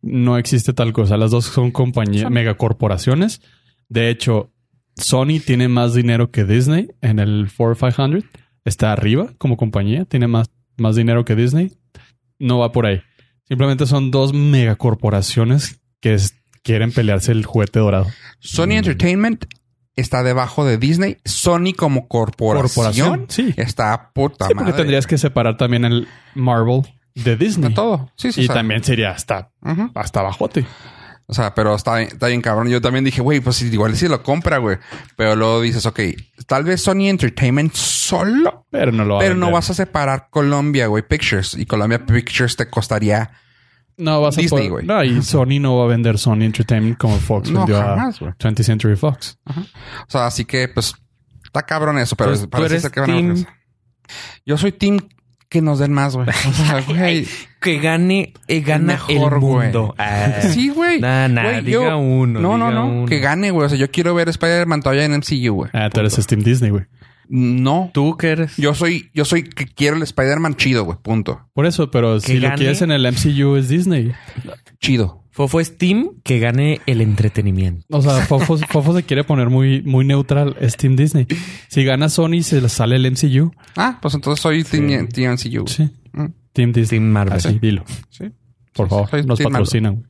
Speaker 2: No existe tal cosa. Las dos son compañías, megacorporaciones. De hecho, Sony tiene más dinero que Disney en el 4500. Está arriba como compañía, tiene más, más dinero que Disney. No va por ahí. Simplemente son dos megacorporaciones que es- quieren pelearse el juguete dorado.
Speaker 1: Sony
Speaker 2: Mm.
Speaker 1: Entertainment está debajo de Disney. Sony como corporación,
Speaker 2: Sí.
Speaker 1: está a puta
Speaker 2: Sí, porque
Speaker 1: madre.
Speaker 2: tendrías que separar también el Marvel de Disney.
Speaker 1: Está todo. Sí, sí.
Speaker 2: Y
Speaker 1: o sea,
Speaker 2: también sería hasta,
Speaker 1: ujú.
Speaker 2: hasta bajote.
Speaker 1: O sea, pero está, está bien cabrón. Yo también dije, güey, pues igual si lo compra, güey. Pero luego dices, ok, tal vez Sony Entertainment solo,
Speaker 2: Pero no lo va a
Speaker 1: pero no
Speaker 2: vender.
Speaker 1: vas a separar Colombia, güey, Pictures. Y Colombia Pictures te costaría.
Speaker 2: No vas
Speaker 1: Disney,
Speaker 2: a
Speaker 1: güey.
Speaker 2: poder- No, y Sony no va a vender Sony Entertainment como
Speaker 3: Pues,
Speaker 2: Fox
Speaker 1: No,
Speaker 2: vendió
Speaker 1: jamás, güey.
Speaker 2: a 20th Century Fox.
Speaker 1: O sea, así que, pues, está cabrón eso, pero
Speaker 3: Pues,
Speaker 1: parece
Speaker 3: ¿tú eres
Speaker 1: ser que van a
Speaker 3: team?
Speaker 1: regresar. Yo soy team que nos den más, güey. O sea, güey.
Speaker 3: Que gane, eh, gana
Speaker 1: Mejor,
Speaker 3: el
Speaker 1: güey.
Speaker 3: mundo. Ah.
Speaker 1: Sí, güey.
Speaker 3: Nah, nah,
Speaker 1: Güey,
Speaker 3: diga
Speaker 1: yo-
Speaker 3: uno,
Speaker 1: No, no,
Speaker 3: diga
Speaker 1: no.
Speaker 3: uno.
Speaker 1: Que gane, güey. O sea, yo quiero ver Spider-Man todavía en MCU, güey.
Speaker 2: Ah, tú eres Steam Disney, güey.
Speaker 1: No.
Speaker 3: ¿Tú qué eres?
Speaker 1: Yo soy, yo soy que quiero el Spider-Man chido, güey. Punto.
Speaker 2: Por eso, pero si lo
Speaker 3: gane.
Speaker 2: quieres en el MCU es Disney.
Speaker 1: Chido.
Speaker 3: Fofo es Team que gane el entretenimiento.
Speaker 2: O sea, Fofo, Fofo se quiere poner muy, muy neutral. Es Team Disney. Si gana Sony, se le sale el MCU.
Speaker 1: Ah, pues entonces soy team, team MCU. güey.
Speaker 2: Sí.
Speaker 1: Mm.
Speaker 2: Team Disney.
Speaker 3: Team Marvel.
Speaker 2: Así, dilo.
Speaker 1: Sí.
Speaker 2: Por
Speaker 1: Sí,
Speaker 2: favor,
Speaker 1: soy
Speaker 2: nos
Speaker 1: Team Marvel.
Speaker 2: patrocinan, güey.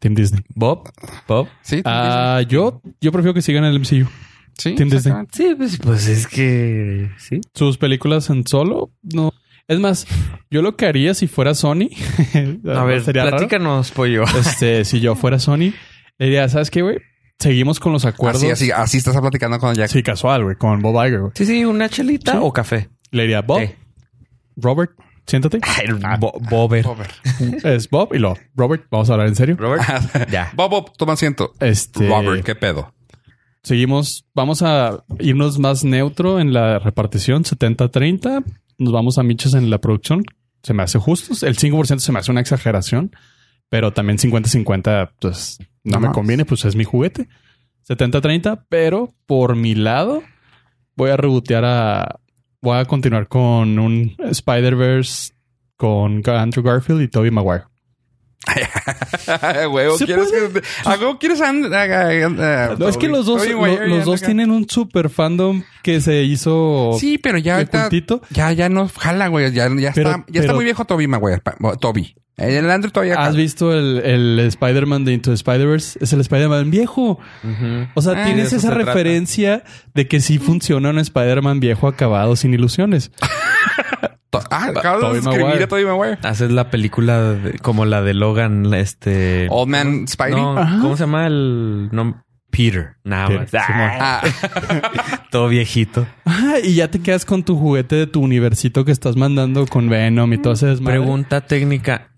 Speaker 2: Team Disney.
Speaker 3: Bob, Bob.
Speaker 1: Sí, Team
Speaker 2: Ah, yo, yo prefiero que sigan el MCU.
Speaker 1: Disney. Sí,
Speaker 2: Team Disney.
Speaker 1: exactamente.
Speaker 3: Sí, pues, pues es que sí.
Speaker 2: sus películas en solo. No. Es más, yo lo que haría si fuera Sony.
Speaker 3: A ver,
Speaker 2: raro.
Speaker 3: platícanos, pollo.
Speaker 2: Este, si yo fuera Sony, le diría, ¿sabes qué, güey? Seguimos con los acuerdos.
Speaker 1: Así, así, así estás platicando con Jack.
Speaker 2: Sí, casual, güey, con Bob Iger, güey.
Speaker 3: Sí, sí, una chelita o café.
Speaker 2: Le diría, Bob,
Speaker 3: Sí.
Speaker 2: Robert, siéntate.
Speaker 3: El bo- Bober.
Speaker 1: Robert.
Speaker 2: es Bob y lo, Robert, vamos a hablar en serio.
Speaker 3: Robert. ya.
Speaker 1: Bob, Bob, toma asiento.
Speaker 2: Este,
Speaker 1: Robert, ¿qué pedo?
Speaker 2: seguimos, vamos a irnos más neutro en la repartición, 70-30. Nos vamos a miches en la producción. Se me hace justo. El 5% se me hace una exageración, pero también 50-50, pues no
Speaker 1: No
Speaker 2: me
Speaker 1: más.
Speaker 2: conviene, pues es mi juguete. 70-30, pero por mi lado voy a rebotear a... Voy a continuar con un Spider-Verse con Andrew Garfield y Tobey Maguire.
Speaker 1: Huevo,
Speaker 2: ¿Se
Speaker 1: ¿quieres que... ¿Algo quieres... and- ah, ah, ah,
Speaker 2: No, es que los dos,
Speaker 1: Oye,
Speaker 2: lo-
Speaker 1: güey,
Speaker 2: los dos
Speaker 1: acá.
Speaker 2: tienen un super fandom que se hizo
Speaker 1: Sí, pero ya
Speaker 2: de
Speaker 1: ahorita...
Speaker 2: juntito.
Speaker 1: Ya, ya no jala, güey. Ya, ya,
Speaker 2: Pero-
Speaker 1: está, ya está
Speaker 2: pero- Ah,
Speaker 1: muy viejo Toby Maguire. pa- bo- Toby. El Andrew todavía...
Speaker 2: ¿Has
Speaker 1: jala.
Speaker 2: visto el, el Spider-Man de Into the Spider-Verse? Es el Spider-Man viejo. O sea,
Speaker 1: Ah,
Speaker 2: tienes
Speaker 1: de
Speaker 2: esa referencia de que sí funciona un Spider-Man viejo acabado sin ilusiones.
Speaker 1: To- Ah, acabas de
Speaker 2: Tobey
Speaker 1: escribir
Speaker 2: Maguire.
Speaker 1: a Toby Maguire.
Speaker 3: Haces la película de- como la de Logan, la, este.
Speaker 1: Old Man Spidey.
Speaker 3: No,
Speaker 2: Ajá.
Speaker 3: ¿Cómo se llama el nombre? Peter. Nada
Speaker 2: Peter,
Speaker 3: más.
Speaker 2: Simón.
Speaker 3: Ah,
Speaker 1: Ah,
Speaker 3: todo viejito.
Speaker 2: Ajá, y ya te quedas con tu juguete de tu universito que estás mandando con Venom y todo ese desmadre.
Speaker 3: Pregunta técnica.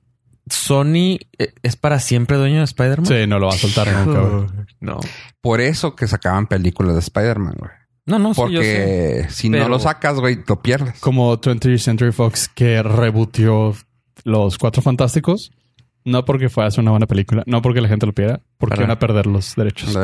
Speaker 3: ¿Sony eh, es para siempre dueño de Spider-Man?
Speaker 2: Sí, no lo va a soltar nunca, güey.
Speaker 3: No.
Speaker 1: por eso que sacaban películas de Spider-Man, güey.
Speaker 3: No, no, sí, yo sé.
Speaker 1: Porque si no
Speaker 3: Pero-
Speaker 1: lo sacas, güey, lo pierdes.
Speaker 2: Como 20th Century Fox que rebutió Los Cuatro Fantásticos. No porque fue hace una buena película, no porque la gente lo pidiera, porque
Speaker 3: Para-
Speaker 2: van a perder los derechos.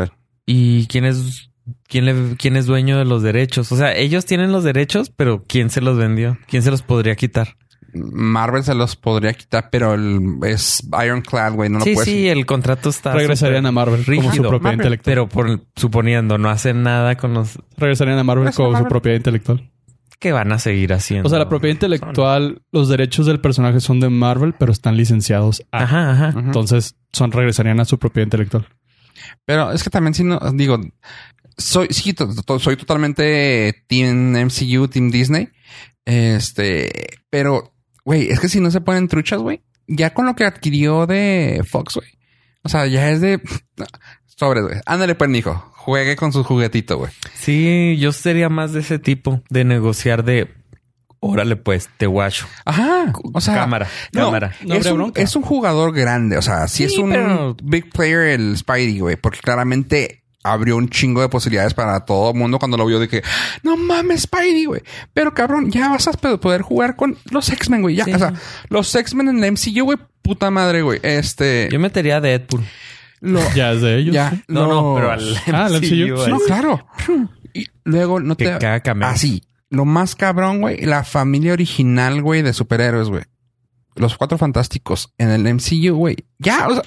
Speaker 3: ¿Y quién es, quién, le, quién es dueño de los derechos? O sea, ellos tienen los derechos, pero ¿quién se los vendió? ¿Quién se los podría quitar?
Speaker 1: Marvel se los podría quitar, pero el- es Ironclad, güey. No lo
Speaker 3: sí,
Speaker 1: puedes.
Speaker 3: sí, el contrato está.
Speaker 2: Regresarían a Marvel como su
Speaker 3: rígido.
Speaker 2: propiedad
Speaker 1: Marvel,
Speaker 2: intelectual.
Speaker 3: Pero por, suponiendo, no hacen nada con los
Speaker 2: Regresarían a Marvel
Speaker 1: Regresa a
Speaker 2: como su
Speaker 1: Marvel.
Speaker 2: propiedad intelectual.
Speaker 3: que van a seguir haciendo.
Speaker 2: O sea, la propiedad intelectual, los derechos del personaje son de Marvel, pero están licenciados a.
Speaker 3: Ajá,
Speaker 2: Ah.
Speaker 3: ajá.
Speaker 1: Ujú.
Speaker 2: Entonces, son regresarían a su propiedad intelectual.
Speaker 1: Pero es que también, si no, digo, soy, sí, to- to- soy totalmente Team MCU, Team Disney, Este, pero, güey, es que si no se ponen truchas, güey, ya con lo que adquirió de Fox, güey. O sea, ya es de sobres, güey. Ándale, pernijo. Juegue con su juguetito, güey.
Speaker 3: Sí, yo sería más de ese tipo de negociar de órale, pues te guacho.
Speaker 1: Ajá. O sea,
Speaker 3: cámara,
Speaker 1: no,
Speaker 3: cámara.
Speaker 2: No
Speaker 1: es,
Speaker 2: habría
Speaker 1: un,
Speaker 2: bronca.
Speaker 1: es un jugador grande. O sea, sí,
Speaker 3: Sí,
Speaker 1: es un
Speaker 3: pero-
Speaker 1: big player el Spidey, güey. Porque claramente abrió un chingo de posibilidades para todo el mundo cuando lo vio. Dije, no mames, Spidey, güey. Pero cabrón, ya vas a pe- poder jugar con los X-Men, güey. Ya,
Speaker 3: Sí.
Speaker 1: o sea, los X-Men en la MCU, güey. Puta madre, güey. Este...
Speaker 3: Yo metería a Deadpool.
Speaker 1: Lo,
Speaker 2: Ya es de ellos.
Speaker 1: ya,
Speaker 2: sí.
Speaker 3: No, no, pero al
Speaker 2: Ah, al MCU.
Speaker 3: MCU,
Speaker 1: No,
Speaker 3: ahí.
Speaker 1: claro. Y luego no
Speaker 3: Que
Speaker 1: te...
Speaker 3: cada cameo.
Speaker 1: Así. Lo más cabrón, güey. La familia original, güey, de superhéroes, güey. Los cuatro fantásticos en el MCU, güey. Ya, o sea...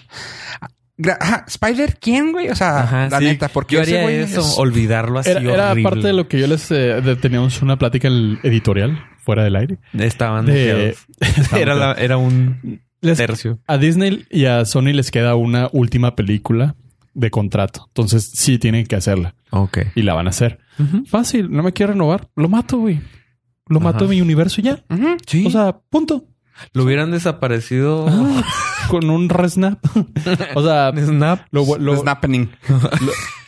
Speaker 1: gra- ajá, Spider, ¿quién, güey? O sea,
Speaker 3: Ajá,
Speaker 1: la
Speaker 3: sí.
Speaker 1: neta, porque
Speaker 3: yo
Speaker 1: ese
Speaker 3: haría
Speaker 1: güey
Speaker 3: eso,
Speaker 1: es-
Speaker 3: olvidarlo así
Speaker 2: Era, era
Speaker 3: horrible.
Speaker 2: parte de lo que yo les eh, de- teníamos una plática en el editorial fuera del aire.
Speaker 3: Estaban
Speaker 2: de-
Speaker 3: noqueados. era, la- era un
Speaker 2: Les-
Speaker 3: tercio.
Speaker 2: a Disney y a Sony les queda una última película de contrato. Entonces sí tienen que hacerla
Speaker 3: Ok.
Speaker 2: y la van a hacer. Fácil, no me quiero renovar. Lo mato, güey. Lo mato
Speaker 3: Ajá.
Speaker 2: en mi universo y ya.
Speaker 1: Ujú.
Speaker 3: Sí.
Speaker 2: O sea, punto.
Speaker 3: lo hubieran desaparecido.
Speaker 2: Ah, con un resnap. o sea,
Speaker 3: Snap.
Speaker 2: lo, bu- lo-
Speaker 1: It's happening.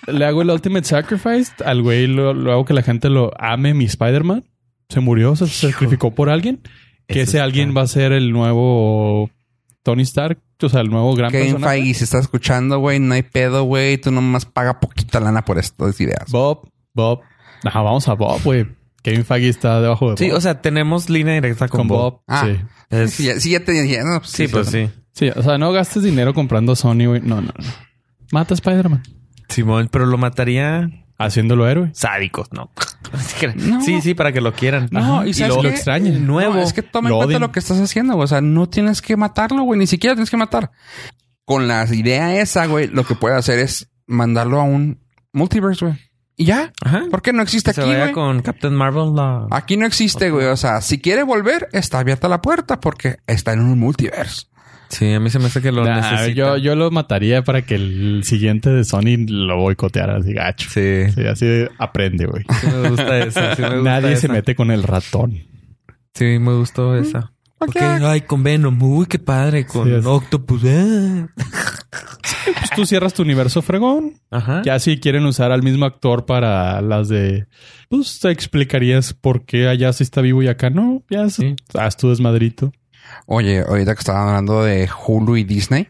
Speaker 2: le hago el Ultimate Sacrifice al güey, lo, lo hago que la gente lo ame, mi Spider-Man. Se murió, se sacrificó por alguien. Que ese
Speaker 3: Eso está-
Speaker 2: alguien va a ser el nuevo Tony Stark, o sea, el nuevo gran
Speaker 1: Kevin
Speaker 2: personaje.
Speaker 1: Feige, si estás escuchando, güey, no hay pedo, güey. Tú nomás paga poquita lana por estas ideas.
Speaker 2: Bob, Bob. Ajá, vamos a Bob, güey. Kevin Feige está debajo de Bob.
Speaker 3: Sí, o sea, tenemos línea directa con,
Speaker 2: con Bob.
Speaker 1: Ah.
Speaker 2: Sí.
Speaker 3: Es-
Speaker 1: Si ya, sí, ya te ya, no, pues,
Speaker 3: sí, pues
Speaker 1: no.
Speaker 3: sí.
Speaker 2: Sí, o sea, no gastes dinero comprando Sony, güey. No, no, no. Mata a Spider-Man.
Speaker 3: Simón, pero lo mataría
Speaker 2: Haciéndolo héroe.
Speaker 3: sádicos, ¿no? Así que-
Speaker 1: No.
Speaker 3: Sí, sí, para que lo quieran.
Speaker 1: No,
Speaker 2: Ajá.
Speaker 1: y sabes
Speaker 2: luego
Speaker 1: qué?
Speaker 2: lo extraña.
Speaker 3: No. nuevo.
Speaker 1: es que toma en
Speaker 2: Lo
Speaker 1: cuenta
Speaker 2: odian.
Speaker 1: lo que estás haciendo, güey. O sea, no tienes que matarlo, güey. Ni siquiera tienes que matar. Con la idea esa, güey, lo que puede hacer es mandarlo a un multiverse, güey. Y ya.
Speaker 3: Ajá.
Speaker 1: ¿Por qué no existe
Speaker 3: Que se
Speaker 1: aquí,
Speaker 3: vaya
Speaker 1: güey? Ah.
Speaker 3: con Captain Marvel. la-
Speaker 1: Aquí no existe, güey. O sea, si quiere volver, está abierta la puerta porque está en un multiverse.
Speaker 3: Sí, a mí se me hace que lo
Speaker 2: Nah,
Speaker 3: necesita.
Speaker 2: yo, yo lo mataría para que el siguiente de Sony lo boicoteara así gacho.
Speaker 3: Sí,
Speaker 2: Sí, así de- aprende, güey.
Speaker 3: sí me gusta esa. sí me gusta
Speaker 2: Nadie se
Speaker 3: esa.
Speaker 2: mete con el ratón.
Speaker 3: Sí, me gustó esa. Porque, ay, con Venom. Uy, qué padre. Con
Speaker 2: Sí, es.
Speaker 3: Octopus. ah.
Speaker 2: Pues tú cierras tu universo fregón.
Speaker 3: Ajá.
Speaker 2: Ya si quieren usar al mismo actor para las de... Pues te explicarías por qué allá sí está vivo y acá no. Ya
Speaker 3: Sí.
Speaker 2: haz tu desmadrito.
Speaker 1: Oye, ahorita que estaban hablando de Hulu y Disney,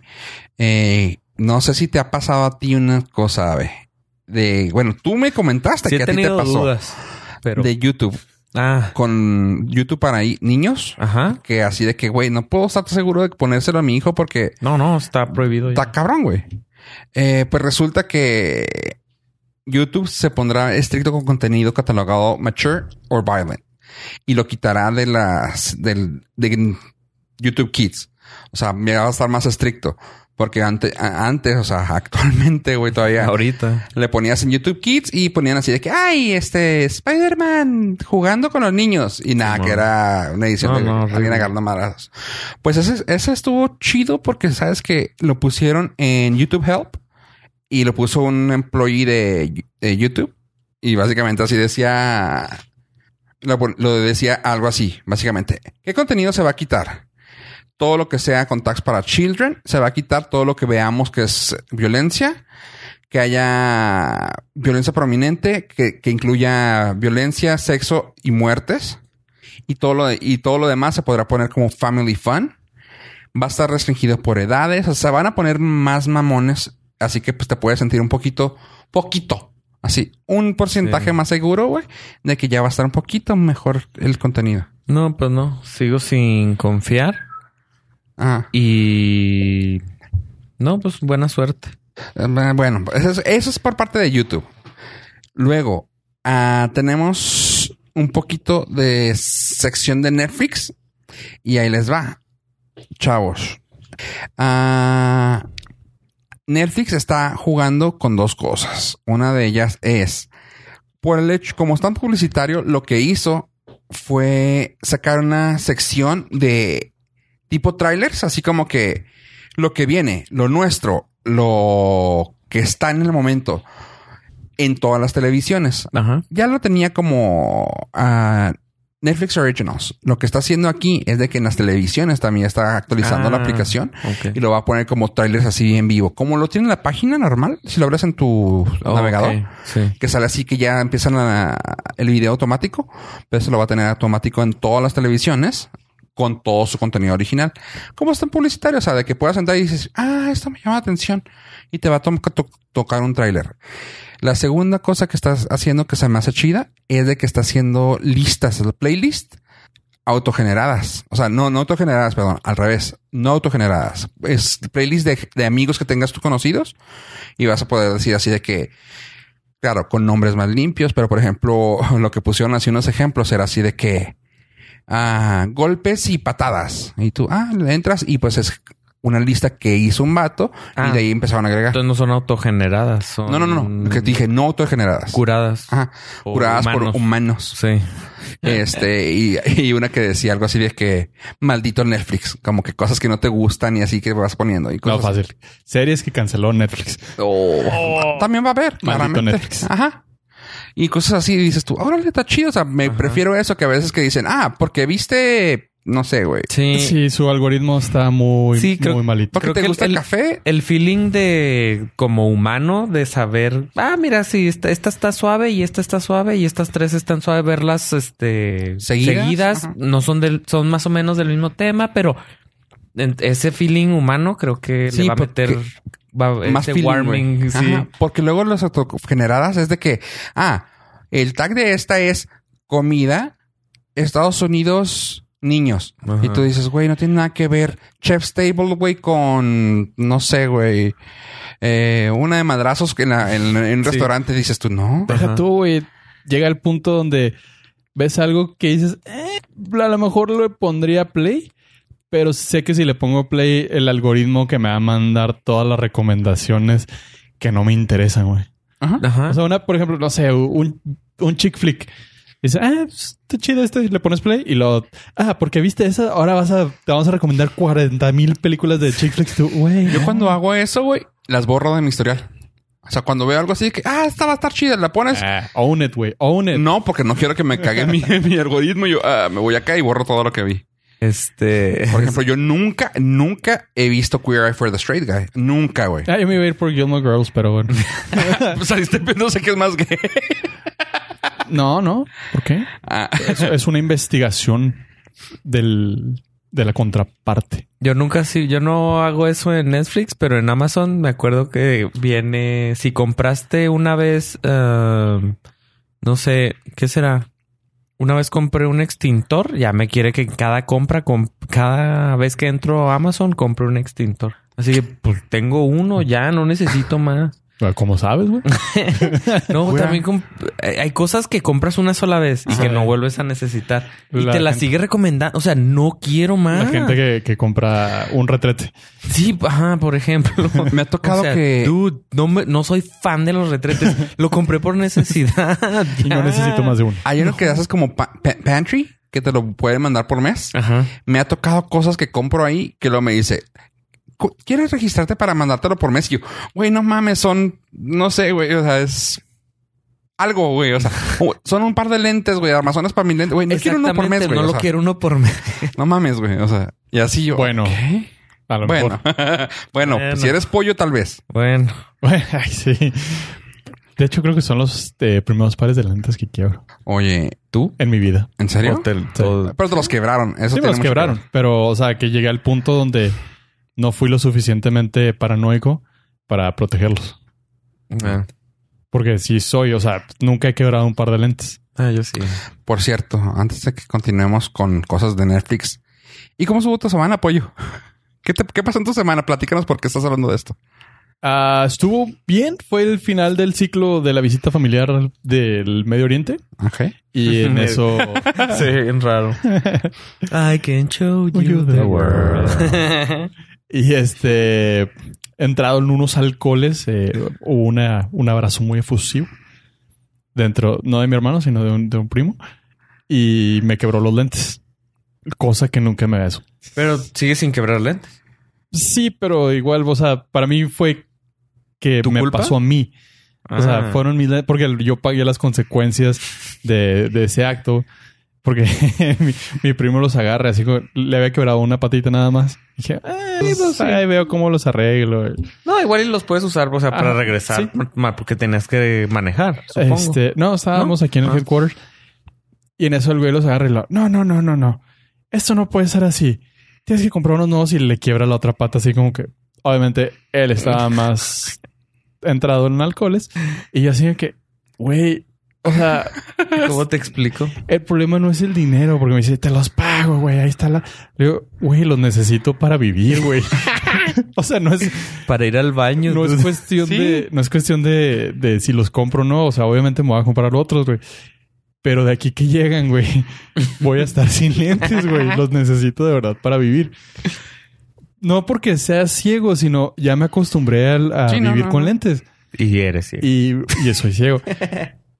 Speaker 1: eh, no sé si te ha pasado a ti una cosa, güey. De, bueno, tú me comentaste
Speaker 3: Sí
Speaker 1: que
Speaker 3: he
Speaker 1: a ti te
Speaker 3: tenido
Speaker 1: pasó
Speaker 3: dudas. Pero...
Speaker 1: de YouTube
Speaker 3: Ah,
Speaker 1: con YouTube para ahí- niños.
Speaker 3: ajá.
Speaker 1: que así de que, güey, no puedo estar seguro de ponérselo a mi hijo porque
Speaker 3: No, no, está prohibido. ya.
Speaker 1: está cabrón, güey. Eh, pues resulta que YouTube se pondrá estricto con contenido catalogado mature or violent y lo quitará de las del de YouTube Kids. O sea, ya va a estar más estricto porque antes, antes, o sea, actualmente, güey, todavía
Speaker 3: Ahorita.
Speaker 1: le ponías en YouTube Kids y ponían así de que, ay, este Spider-Man jugando con los niños. Y nada,
Speaker 3: Sí,
Speaker 1: que
Speaker 3: man.
Speaker 1: era una edición
Speaker 3: No,
Speaker 1: de
Speaker 3: no,
Speaker 1: alguien
Speaker 3: horrible.
Speaker 1: agarrando madrazos. Pues ese, ese estuvo chido porque sabes que lo pusieron en YouTube Help y lo puso un employee de, de YouTube. Y básicamente así decía, lo, pon- lo decía algo así, básicamente. ¿Qué contenido se va a quitar? Todo lo que sea contacts para children, se va a quitar todo lo que veamos que es violencia, que haya violencia prominente, que, que incluya violencia, sexo y muertes. Y todo, lo de- y todo lo demás se podrá poner como family fun. Va a estar restringido por edades. O sea, van a poner más mamones. Así que pues te puedes sentir un poquito, poquito. Así, un porcentaje
Speaker 3: Sí.
Speaker 1: más seguro, güey, de que ya va a estar un poquito mejor el contenido.
Speaker 3: No, pues no. Sigo sin confiar.
Speaker 1: Ajá.
Speaker 3: Y... No, pues buena suerte.
Speaker 1: Eh, Bueno, eso es, eso es por parte de YouTube. Luego, ah, tenemos un poquito de sección de Netflix. Y ahí les va. Chavos. Ah, Netflix está jugando con dos cosas. Una de ellas es, por el hecho, como es tan publicitario, lo que hizo fue sacar una sección de tipo trailers, así como que lo que viene, lo nuestro, lo que está en el momento en todas las televisiones.
Speaker 3: Ajá.
Speaker 1: Ya lo tenía como ah, Netflix Originals. Lo que está haciendo aquí es de que en las televisiones también está actualizando la
Speaker 3: Ah.
Speaker 1: aplicación
Speaker 3: Ok.
Speaker 1: y lo va a poner como trailers así en vivo. Como lo tiene en la página normal, si lo abres en tu
Speaker 3: Oh,
Speaker 1: navegador,
Speaker 3: ok. Sí.
Speaker 1: que sale así que ya empiezan a- el video automático, pero eso lo va a tener automático en todas las televisiones con todo su contenido original. Como está en publicitario, o sea, de que puedas entrar y dices, ah, esto me llama la atención y te va a to- to- tocar un tráiler. La segunda cosa que estás haciendo que se me hace chida es de que está haciendo listas, playlists autogeneradas. O sea, no, no autogeneradas, perdón, al revés, no autogeneradas. Es playlist de, de amigos que tengas tú conocidos y vas a poder decir así de que, claro, con nombres más limpios, pero por ejemplo, lo que pusieron así unos ejemplos era así de que, ah, golpes y patadas. Y tú, ah, le entras y pues es una lista que hizo un vato
Speaker 3: Ah.
Speaker 1: y de ahí empezaron a agregar.
Speaker 3: Entonces no son autogeneradas, son
Speaker 1: No, no, no, no. Que te dije, no autogeneradas.
Speaker 3: curadas.
Speaker 1: Ajá.
Speaker 3: Por
Speaker 1: Curadas por humanos.
Speaker 3: Sí.
Speaker 1: Este, y, y una que decía algo así de que maldito Netflix, como que cosas que no te gustan y así que vas poniendo y
Speaker 2: No,
Speaker 1: cosas.
Speaker 2: fácil. Series que canceló Netflix.
Speaker 1: Oh. También va a haber, claramente.
Speaker 2: Netflix.
Speaker 1: Ajá. Y cosas así, dices tú, órale, está chido. O sea, me prefiero eso que a veces que dicen, ah, porque viste, no sé, güey.
Speaker 3: Sí.
Speaker 2: Sí, su algoritmo está muy,
Speaker 3: Sí, creo-
Speaker 2: muy malito.
Speaker 1: Porque
Speaker 3: Creo
Speaker 1: te
Speaker 3: que
Speaker 1: gusta el,
Speaker 3: el-
Speaker 1: café.
Speaker 3: El feeling de como humano de saber, ah, mira, sí, esta, esta está suave y esta está suave y estas tres están suave, verlas este
Speaker 1: Seguidas,
Speaker 3: seguidas,
Speaker 1: ajá.
Speaker 3: no son del, son más o menos del mismo tema, pero en- ese feeling humano creo que
Speaker 1: Sí,
Speaker 3: le va a
Speaker 1: porque-
Speaker 3: meter va-
Speaker 1: más
Speaker 3: ese
Speaker 1: feeling,
Speaker 3: warming,
Speaker 1: güey.
Speaker 3: sí.
Speaker 1: Ajá, porque luego las autogeneradas es de que, ah, el tag de esta es comida, Estados Unidos, niños.
Speaker 3: Ajá.
Speaker 1: Y tú dices, güey, no tiene nada que ver Chef's Table, güey, con, no sé, güey, eh, una de madrazos que en, la- en- en un restaurante. Dices tú, no.
Speaker 2: Deja
Speaker 3: Ajá.
Speaker 2: tú, güey. Llega el punto donde ves algo que dices, eh, a lo mejor le pondría play, pero sé que si le pongo play, el algoritmo que me va a mandar todas las recomendaciones que no me interesan, güey.
Speaker 1: Ajá.
Speaker 3: Ajá.
Speaker 2: O sea, una, por ejemplo, no sé, un, un chick flick. Dice, ah, pues, está chido este, y le pones play y lo, ah, porque viste esa, ahora vas a, te vamos a recomendar 40 mil películas de chick flicks, tú, güey.
Speaker 1: Yo
Speaker 2: no.
Speaker 1: cuando hago eso, güey, las borro de mi historial. O sea, cuando veo algo así de que, ah, esta va a estar chida, la pones.
Speaker 2: Ah, own it, güey, own it.
Speaker 1: No, porque no quiero que me cague mi, mi algoritmo. Yo ah, me voy acá y borro todo lo que vi.
Speaker 3: Este
Speaker 1: Por ejemplo, yo nunca, nunca he visto Queer Eye for the Straight Guy. Nunca, güey.
Speaker 2: Ah, yo me iba a ir por Gilmore Girls, pero bueno.
Speaker 1: Saliste este sé que es más gay.
Speaker 2: No, no. ¿Por qué?
Speaker 1: Ah,
Speaker 2: Es, es una investigación del, de la contraparte.
Speaker 3: Yo nunca sí, yo no hago eso en Netflix, pero en Amazon me acuerdo que viene. Si compraste una vez, ehm, no sé, ¿qué será? Una vez compré un extintor, ya me quiere que en cada compra, com- cada vez que entro a Amazon, compro un extintor. Así que pues tengo uno, ya no necesito más.
Speaker 2: Como Ah, sabes, güey.
Speaker 3: No,
Speaker 1: Güey.
Speaker 3: también comp- eh, hay hay cosas que compras una sola vez y que no vuelves a necesitar. Y
Speaker 2: La
Speaker 3: te las
Speaker 2: gente-
Speaker 3: sigue recomendando. O sea, no quiero más.
Speaker 2: La gente que, que compra un retrete.
Speaker 3: Sí, ajá, por ejemplo.
Speaker 1: me ha tocado
Speaker 3: O sea,
Speaker 1: que.
Speaker 3: Dude, no, me- no soy fan de los retretes. Lo compré por necesidad.
Speaker 2: Y no
Speaker 3: ya.
Speaker 2: necesito más de uno.
Speaker 1: Hay uno que haces como pa- pa- pantry, que te lo pueden mandar por mes.
Speaker 3: Ajá.
Speaker 1: Me ha tocado cosas que compro ahí que luego me dice. "Cu- ¿Quieres registrarte para mandártelo por mes? Y yo, güey, no mames, son, no sé, güey, o sea, es algo, güey, o sea, o- son un par de lentes, güey, armazones para mi lente, güey, no quiero uno por mes,
Speaker 3: Exactamente,
Speaker 1: güey,
Speaker 3: No
Speaker 1: o
Speaker 3: lo
Speaker 1: sea,
Speaker 3: quiero uno por mes.
Speaker 1: no mames, güey, o sea, y así yo,
Speaker 2: Bueno.
Speaker 1: ¿qué?
Speaker 2: A lo
Speaker 1: Bueno,
Speaker 2: mejor.
Speaker 1: bueno, pues
Speaker 3: Bueno.
Speaker 1: si eres pollo, tal vez.
Speaker 3: Bueno,
Speaker 2: Bueno, ay, sí. De hecho, creo que son los este, primeros pares de lentes que quiebro
Speaker 1: Oye, ¿tú?
Speaker 2: en mi vida.
Speaker 1: ¿En serio?
Speaker 2: Pues
Speaker 4: Hotel, todo.
Speaker 1: Pero te los quebraron. Eso
Speaker 2: Sí, me
Speaker 1: tiene
Speaker 2: los
Speaker 1: mucho
Speaker 2: quebraron. Pero, o sea, que llegué al punto donde no fui lo suficientemente paranoico para protegerlos.
Speaker 3: Ah.
Speaker 2: Porque si soy, o sea, nunca he quebrado un par de lentes.
Speaker 3: Ah, yo sí.
Speaker 1: que ver. Por cierto, antes de que continuemos con cosas de Netflix. ¿Y cómo estuvo tu semana, pollo? ¿Qué, te- ¿Qué pasó en tu semana? Platícanos por qué estás hablando de esto.
Speaker 2: Ah, estuvo bien. Fue el final del ciclo de la visita familiar del Medio Oriente.
Speaker 1: Ok.
Speaker 2: Y en eso.
Speaker 4: Sí, bien raro.
Speaker 3: I can show
Speaker 2: Oh,
Speaker 3: you the world.
Speaker 2: y este. Entraron unos alcoholes. eh, hubo una, un abrazo muy efusivo. Dentro, no de mi hermano, sino de un, de un primo. Y me quebró los lentes. Cosa que nunca me había su-
Speaker 3: Pero sigue sin quebrar lentes.
Speaker 2: Sí, pero igual, o sea, para mí fue que
Speaker 4: ¿Tu
Speaker 2: me
Speaker 4: culpa?
Speaker 2: pasó a mí. O sea,
Speaker 3: Ah.
Speaker 2: fueron mis... Porque yo pagué las consecuencias de, de ese acto. Porque mi, mi primo los agarra, así como le había quebrado una patita nada más. Dije, ay, pues, ahí veo cómo los arreglo.
Speaker 3: No, igual y los puedes usar, o sea, para
Speaker 2: Ah,
Speaker 3: regresar,
Speaker 2: sí.
Speaker 3: ma- porque tenías que manejar, supongo.
Speaker 2: Este, no, estábamos aquí en el
Speaker 3: Ah.
Speaker 2: headquarters. Y en eso el güey los agarra y lo, no, no, no, no, no. Esto no puede ser así. Tienes que comprar unos nuevos y le quiebra la otra pata, así como que, obviamente, él estaba más entrado en alcoholes. Y yo así de que, güey, o sea,
Speaker 3: ¿Cómo te explico?
Speaker 2: el problema no es el dinero, porque me dice, te los pago, güey, ahí está la... Le digo, güey, los necesito para vivir, güey. o sea, no es,
Speaker 3: Para ir al baño.
Speaker 2: no es cuestión
Speaker 1: Sí.
Speaker 2: de, no es cuestión de, de si los compro o no. O sea, obviamente me voy a comprar otros, güey. Pero de aquí que llegan, güey, voy a estar sin lentes, güey. Los necesito de verdad para vivir. No porque sea ciego, sino ya me acostumbré al- a,
Speaker 1: Sí, no,
Speaker 2: vivir
Speaker 1: no,
Speaker 2: con
Speaker 1: no.
Speaker 2: lentes
Speaker 3: Y eres, sí.
Speaker 2: y, y soy ciego.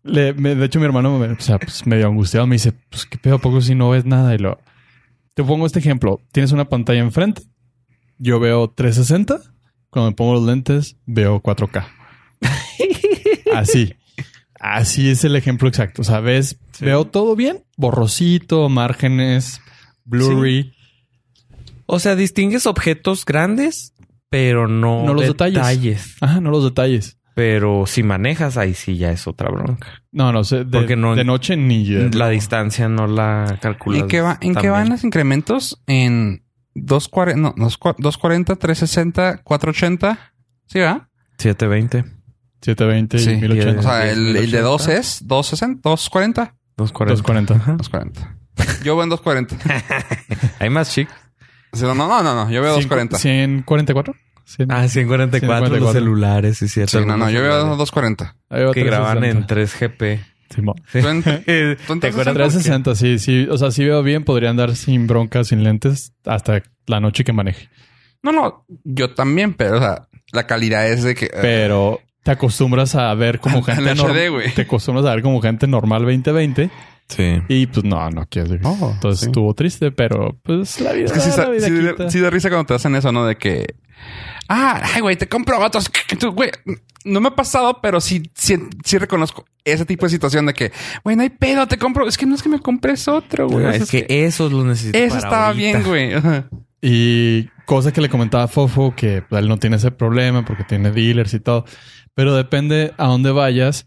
Speaker 2: Le- me- de hecho, mi hermano, me, o sea, pues, medio angustiado, me dice, pues qué pedo, ¿a poco si no ves nada. Y lo, te pongo este ejemplo. Tienes una pantalla enfrente. Yo veo 360. Cuando me pongo los lentes, veo 4K. Así. Así es el ejemplo exacto. O sea, ves, veo todo bien, borrosito, márgenes, blurry.
Speaker 3: O sea, distingues objetos grandes, pero no,
Speaker 2: No los detalles. Ajá, no los detalles.
Speaker 3: Pero si manejas, ahí sí ya es otra bronca.
Speaker 2: No, no sé. De,
Speaker 3: Porque no-
Speaker 2: de noche ni... de-
Speaker 3: La distancia no la calculas.
Speaker 1: ¿En qué, va, ¿En qué
Speaker 3: también.
Speaker 1: van los incrementos? En 240, no, dos cua- 240, 360, 480. ¿Sí, va?
Speaker 3: 720,
Speaker 2: 720
Speaker 1: Sí,
Speaker 2: y 1080.
Speaker 1: O sea,
Speaker 3: diez,
Speaker 1: el, el de
Speaker 3: 1080.
Speaker 1: 2 es 260, 240.
Speaker 3: 240.
Speaker 2: 240.
Speaker 3: Ajá.
Speaker 1: 240. Yo veo en 240.
Speaker 3: Hay más chic.
Speaker 1: O sea, no, no, no, no. Yo veo 240. Sí,
Speaker 2: 144. 100.
Speaker 3: Ah, 144, los
Speaker 2: 144.
Speaker 3: celulares, sí, cierto.
Speaker 1: no, no.
Speaker 3: Algunos
Speaker 1: Yo veo
Speaker 3: celulares
Speaker 1: 240.
Speaker 2: Ahí va
Speaker 3: que graban en
Speaker 2: 360.
Speaker 3: 3GP.
Speaker 2: Simón.
Speaker 1: ¿Tú en- Eh, tú en
Speaker 3: ¿Te acuerdas?
Speaker 2: 360, sí, sí. O sea, si veo bien, podría andar sin broncas, sin lentes, hasta la noche que maneje.
Speaker 1: Eh. No, no. Yo también, pero, o sea, la calidad es de que... eh,
Speaker 2: Pero te acostumbras a ver como
Speaker 1: Al- al
Speaker 2: gente
Speaker 1: HD,
Speaker 2: normal.
Speaker 1: güey.
Speaker 2: Te acostumbras a ver como gente normal 2020.
Speaker 3: Sí.
Speaker 2: Y pues no, no quieres vivir.
Speaker 1: Oh,
Speaker 2: Entonces
Speaker 1: sí.
Speaker 2: estuvo triste, pero pues la vida.
Speaker 1: Es que sí,
Speaker 2: la
Speaker 1: sa-
Speaker 2: vida
Speaker 1: sí de-
Speaker 2: quita.
Speaker 1: sí de risa cuando te hacen eso, ¿no? De que... Ah, ay, güey, te compro otros. Tú, güey, no me ha pasado, pero sí, sí, sí reconozco ese tipo de situación de que... Güey, no hay pedo, te compro. Es que no es que me compres otro, güey. O sea,
Speaker 3: Ah, es que esos los necesito.
Speaker 1: Eso
Speaker 3: para
Speaker 1: estaba
Speaker 3: ahorita.
Speaker 1: bien, güey. Ajá.
Speaker 2: Y cosa que le comentaba a Fofo, que él no tiene ese problema porque tiene dealers y todo. Pero depende a dónde vayas.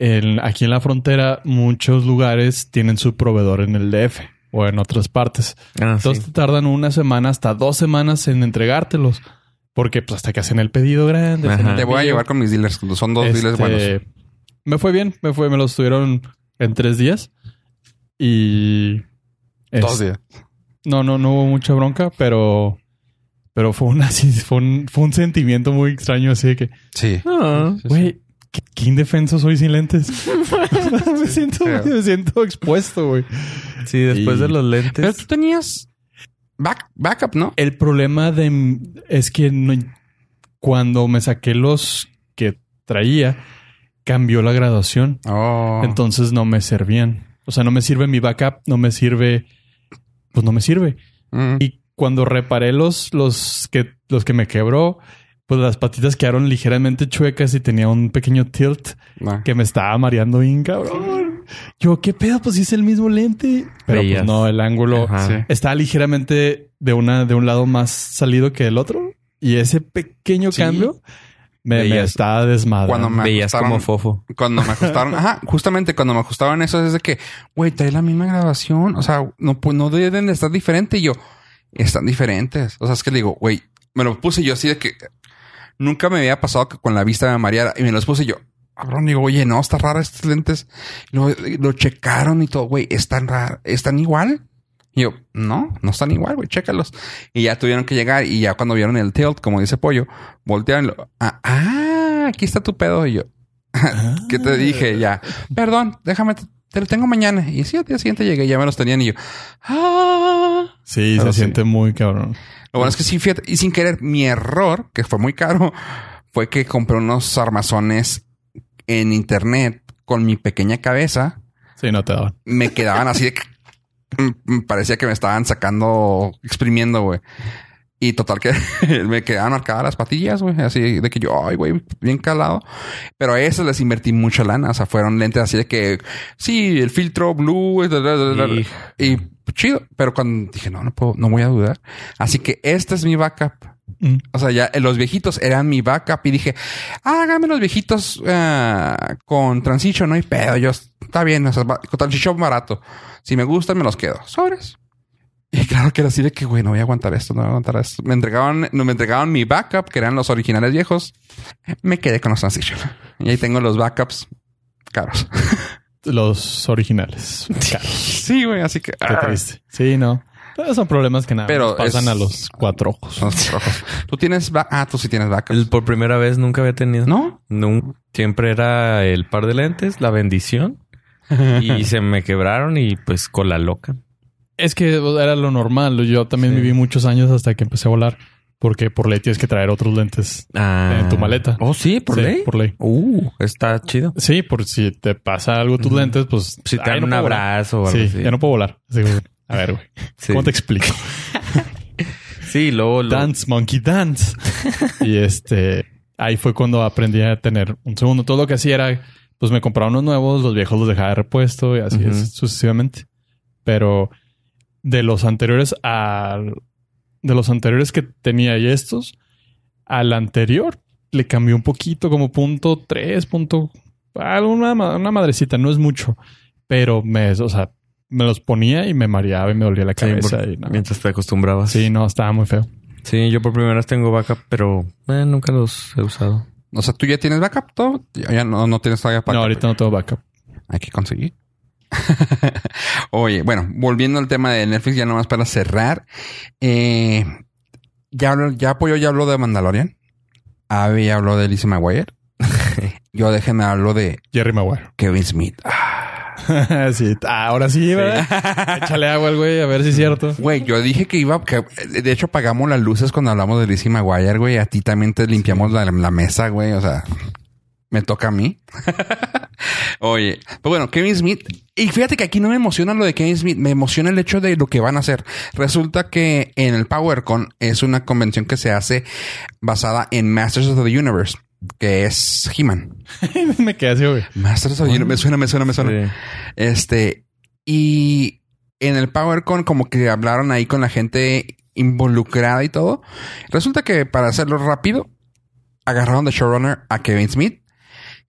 Speaker 2: En- aquí en la frontera, muchos lugares tienen su proveedor en el DF o en otras partes.
Speaker 3: Ah, sí.
Speaker 2: Entonces te tardan una semana hasta dos semanas en entregártelos. Porque pues, hasta que hacen el pedido grande.
Speaker 3: Ajá.
Speaker 2: hacen el
Speaker 1: Te voy a
Speaker 2: envío.
Speaker 1: llevar con mis dealers. Son dos dealers
Speaker 2: Este,
Speaker 1: buenos.
Speaker 2: Me fue bien, me fue, me los tuvieron en tres días. Y.
Speaker 1: Dos
Speaker 2: este,
Speaker 1: días.
Speaker 2: no, no, no hubo mucha bronca, pero. Pero fue una, sí, fue un, fue un sentimiento muy extraño, así de que,
Speaker 1: Sí.
Speaker 3: Ah.
Speaker 2: güey, ¿qué, qué indefenso soy sin lentes. me, siento,
Speaker 1: claro.
Speaker 2: me siento expuesto, güey.
Speaker 3: Sí, después
Speaker 2: Y-
Speaker 3: de los
Speaker 1: Pero
Speaker 3: lentes.
Speaker 1: tú tenías back, backup, ¿no?
Speaker 2: El problema de m- es que no- cuando me saqué los que traía, cambió la graduación.
Speaker 1: Oh.
Speaker 2: Entonces no me servían. O sea, no me sirve mi backup, no me sirve. Pues no me sirve.
Speaker 1: Mm.
Speaker 2: Y cuando reparé los, los que los que me quebró, pues las patitas quedaron ligeramente chuecas y tenía un pequeño tilt
Speaker 1: Ah.
Speaker 2: que me estaba mareando bien, cabrón. Yo, ¿qué pedo? Pues si es el mismo lente. Pero
Speaker 3: Veías.
Speaker 2: pues no, el ángulo
Speaker 3: Ajá.
Speaker 1: Sí.
Speaker 2: estaba ligeramente de una, de un lado más salido que el otro. Y ese pequeño
Speaker 1: Sí.
Speaker 2: cambio me, me
Speaker 3: Veías.
Speaker 2: estaba desmadrando.
Speaker 1: Cuando me
Speaker 3: Veías
Speaker 1: ajustaron-
Speaker 3: como fofo.
Speaker 1: Cuando me ajustaron, ajá, justamente cuando me ajustaron eso es de que, güey, trae la misma grabación. O sea, no, pu- no deben de estar diferente. Y yo, están diferentes. O sea, es que le digo, güey, me lo puse yo así de que nunca me había pasado que con la vista me mareara y me los puse yo. Cabrón, digo, oye, no, está rara estos lentes. Lo, lo checaron y todo, güey, están raro, están igual. Y yo, no, no están igual, güey, chécalos. Y ya tuvieron que llegar y ya cuando vieron el tilt, como dice Pollo, voltearon y lo, ah, ah, aquí está tu pedo. Y yo, ¿Qué te dije? Ya. Perdón, déjame, te, te lo tengo mañana. Y sí, al día siguiente llegué, ya me los tenían y yo. Ah.
Speaker 2: Sí,
Speaker 1: Pero
Speaker 2: se
Speaker 1: sí.
Speaker 2: siente muy cabrón.
Speaker 1: Lo bueno es que sí, fíjate, y sin querer, mi error, que fue muy caro, fue que compré unos armazones en internet con mi pequeña cabeza.
Speaker 2: Sí, no te daban.
Speaker 1: Me quedaban así de que- Mm, mm, parecía que me estaban sacando, exprimiendo, güey. Y total que me quedaban marcadas las patillas, güey. Así de que yo, ay, güey, bien calado. Pero a esas les invertí mucha lana. O sea, fueron lentes así de que, sí, el filtro blue, y, y chido. Pero cuando dije, no, no puedo, no voy a dudar. Así que esta es mi backup.
Speaker 2: Mm.
Speaker 1: O sea, ya eh, los viejitos eran mi backup y dije, ah, hágame los viejitos ah, con transition, no hay pedo. Yo, está bien, o sea, va- con transition barato. Si me gustan, me los quedo. Sobres. Y claro que era así de que, güey, no voy a aguantar esto, no voy a aguantar esto. Me entregaban, no, me entregaban mi backup, que eran los originales viejos. Me quedé con los transition. Y ahí tengo los backups caros.
Speaker 2: Los originales. Claro,
Speaker 1: sí, güey, así que...
Speaker 2: qué
Speaker 1: ah.
Speaker 2: triste. Sí, no. Pero son problemas que nada
Speaker 1: Pero
Speaker 2: más pasan
Speaker 1: es-
Speaker 2: a los cuatro ojos.
Speaker 1: Son
Speaker 3: Ah.
Speaker 1: los rojos. Tú tienes... ba- Ah, tú sí tienes backup.
Speaker 3: El- por primera vez nunca había tenido.
Speaker 1: ¿No?
Speaker 3: Nun- Siempre era el par de lentes, la bendición. y se me quebraron y pues con la loca.
Speaker 2: Es que era lo normal. Yo también
Speaker 3: Sí.
Speaker 2: viví muchos años hasta que empecé a volar. Porque por ley tienes que traer otros lentes.
Speaker 3: Ah.
Speaker 2: En tu maleta.
Speaker 3: Oh, sí, por
Speaker 2: Sí,
Speaker 3: ley.
Speaker 2: Por ley.
Speaker 3: Uh, está chido.
Speaker 2: Sí, por si te pasa algo tus
Speaker 3: Ujú.
Speaker 2: lentes, pues...
Speaker 3: Si te
Speaker 2: ay,
Speaker 3: dan
Speaker 2: no
Speaker 3: un
Speaker 2: puedo volar.
Speaker 3: abrazo o algo
Speaker 2: Sí,
Speaker 3: así.
Speaker 2: ya no puedo volar. Así como, a ver, güey.
Speaker 3: Sí.
Speaker 2: ¿Cómo te explico?
Speaker 3: Sí, luego, luego-
Speaker 2: Dance, monkey dance. y este, ahí fue cuando aprendí a tener un segundo. Todo lo que hacía era, pues me compraba unos nuevos, los viejos los dejaba de repuesto y así
Speaker 3: Ujú.
Speaker 2: es, sucesivamente. Pero de los anteriores a, de los anteriores que tenía y estos, al anterior le cambió un poquito, como punto tres, punto, alguna, ma- una madrecita, no es mucho, pero me, o sea, me los ponía y me mareaba y me dolía la
Speaker 3: Sí,
Speaker 2: cabeza.
Speaker 3: por-
Speaker 2: y no.
Speaker 3: Mientras te acostumbrabas.
Speaker 2: Sí, no, estaba muy feo.
Speaker 3: Sí, yo por primera vez tengo backup, pero eh, nunca los he usado.
Speaker 1: O sea, ¿tú ya tienes backup? todo? Ya ya no, no tienes todavía backup.
Speaker 2: No, ahorita no tengo backup.
Speaker 1: Hay que conseguir. Oye, bueno, volviendo al tema de Netflix, ya nomás para cerrar. eh, ya, habló- ya Pollo ya habló de Mandalorian. Abby ya habló de Lizzie McGuire. Yo déjenme hablo de
Speaker 2: Jerry Maguire.
Speaker 1: Kevin Smith. Ah,
Speaker 2: sí, ahora sí, ¿verdad? Échale agua al güey, a ver si es cierto.
Speaker 1: Güey, yo dije que iba... que- eh, de hecho, pagamos las luces cuando hablamos de Lizzie McGuire, güey. A ti también te limpiamos la, la mesa, güey. O sea, me toca a mí. Oye, pues bueno, Kevin Smith. Y fíjate que aquí no me emociona lo de Kevin Smith, me emociona el hecho de lo que van a hacer. Resulta que en el PowerCon es una convención que se hace basada en Masters of the Universe, que es He-Man.
Speaker 2: Me quedé así, güey.
Speaker 1: Masters of the Universe, me suena, me suena, me suena. Este, y en el PowerCon, como que hablaron ahí con la gente involucrada y todo. Resulta que para hacerlo rápido, agarraron de showrunner a Kevin Smith,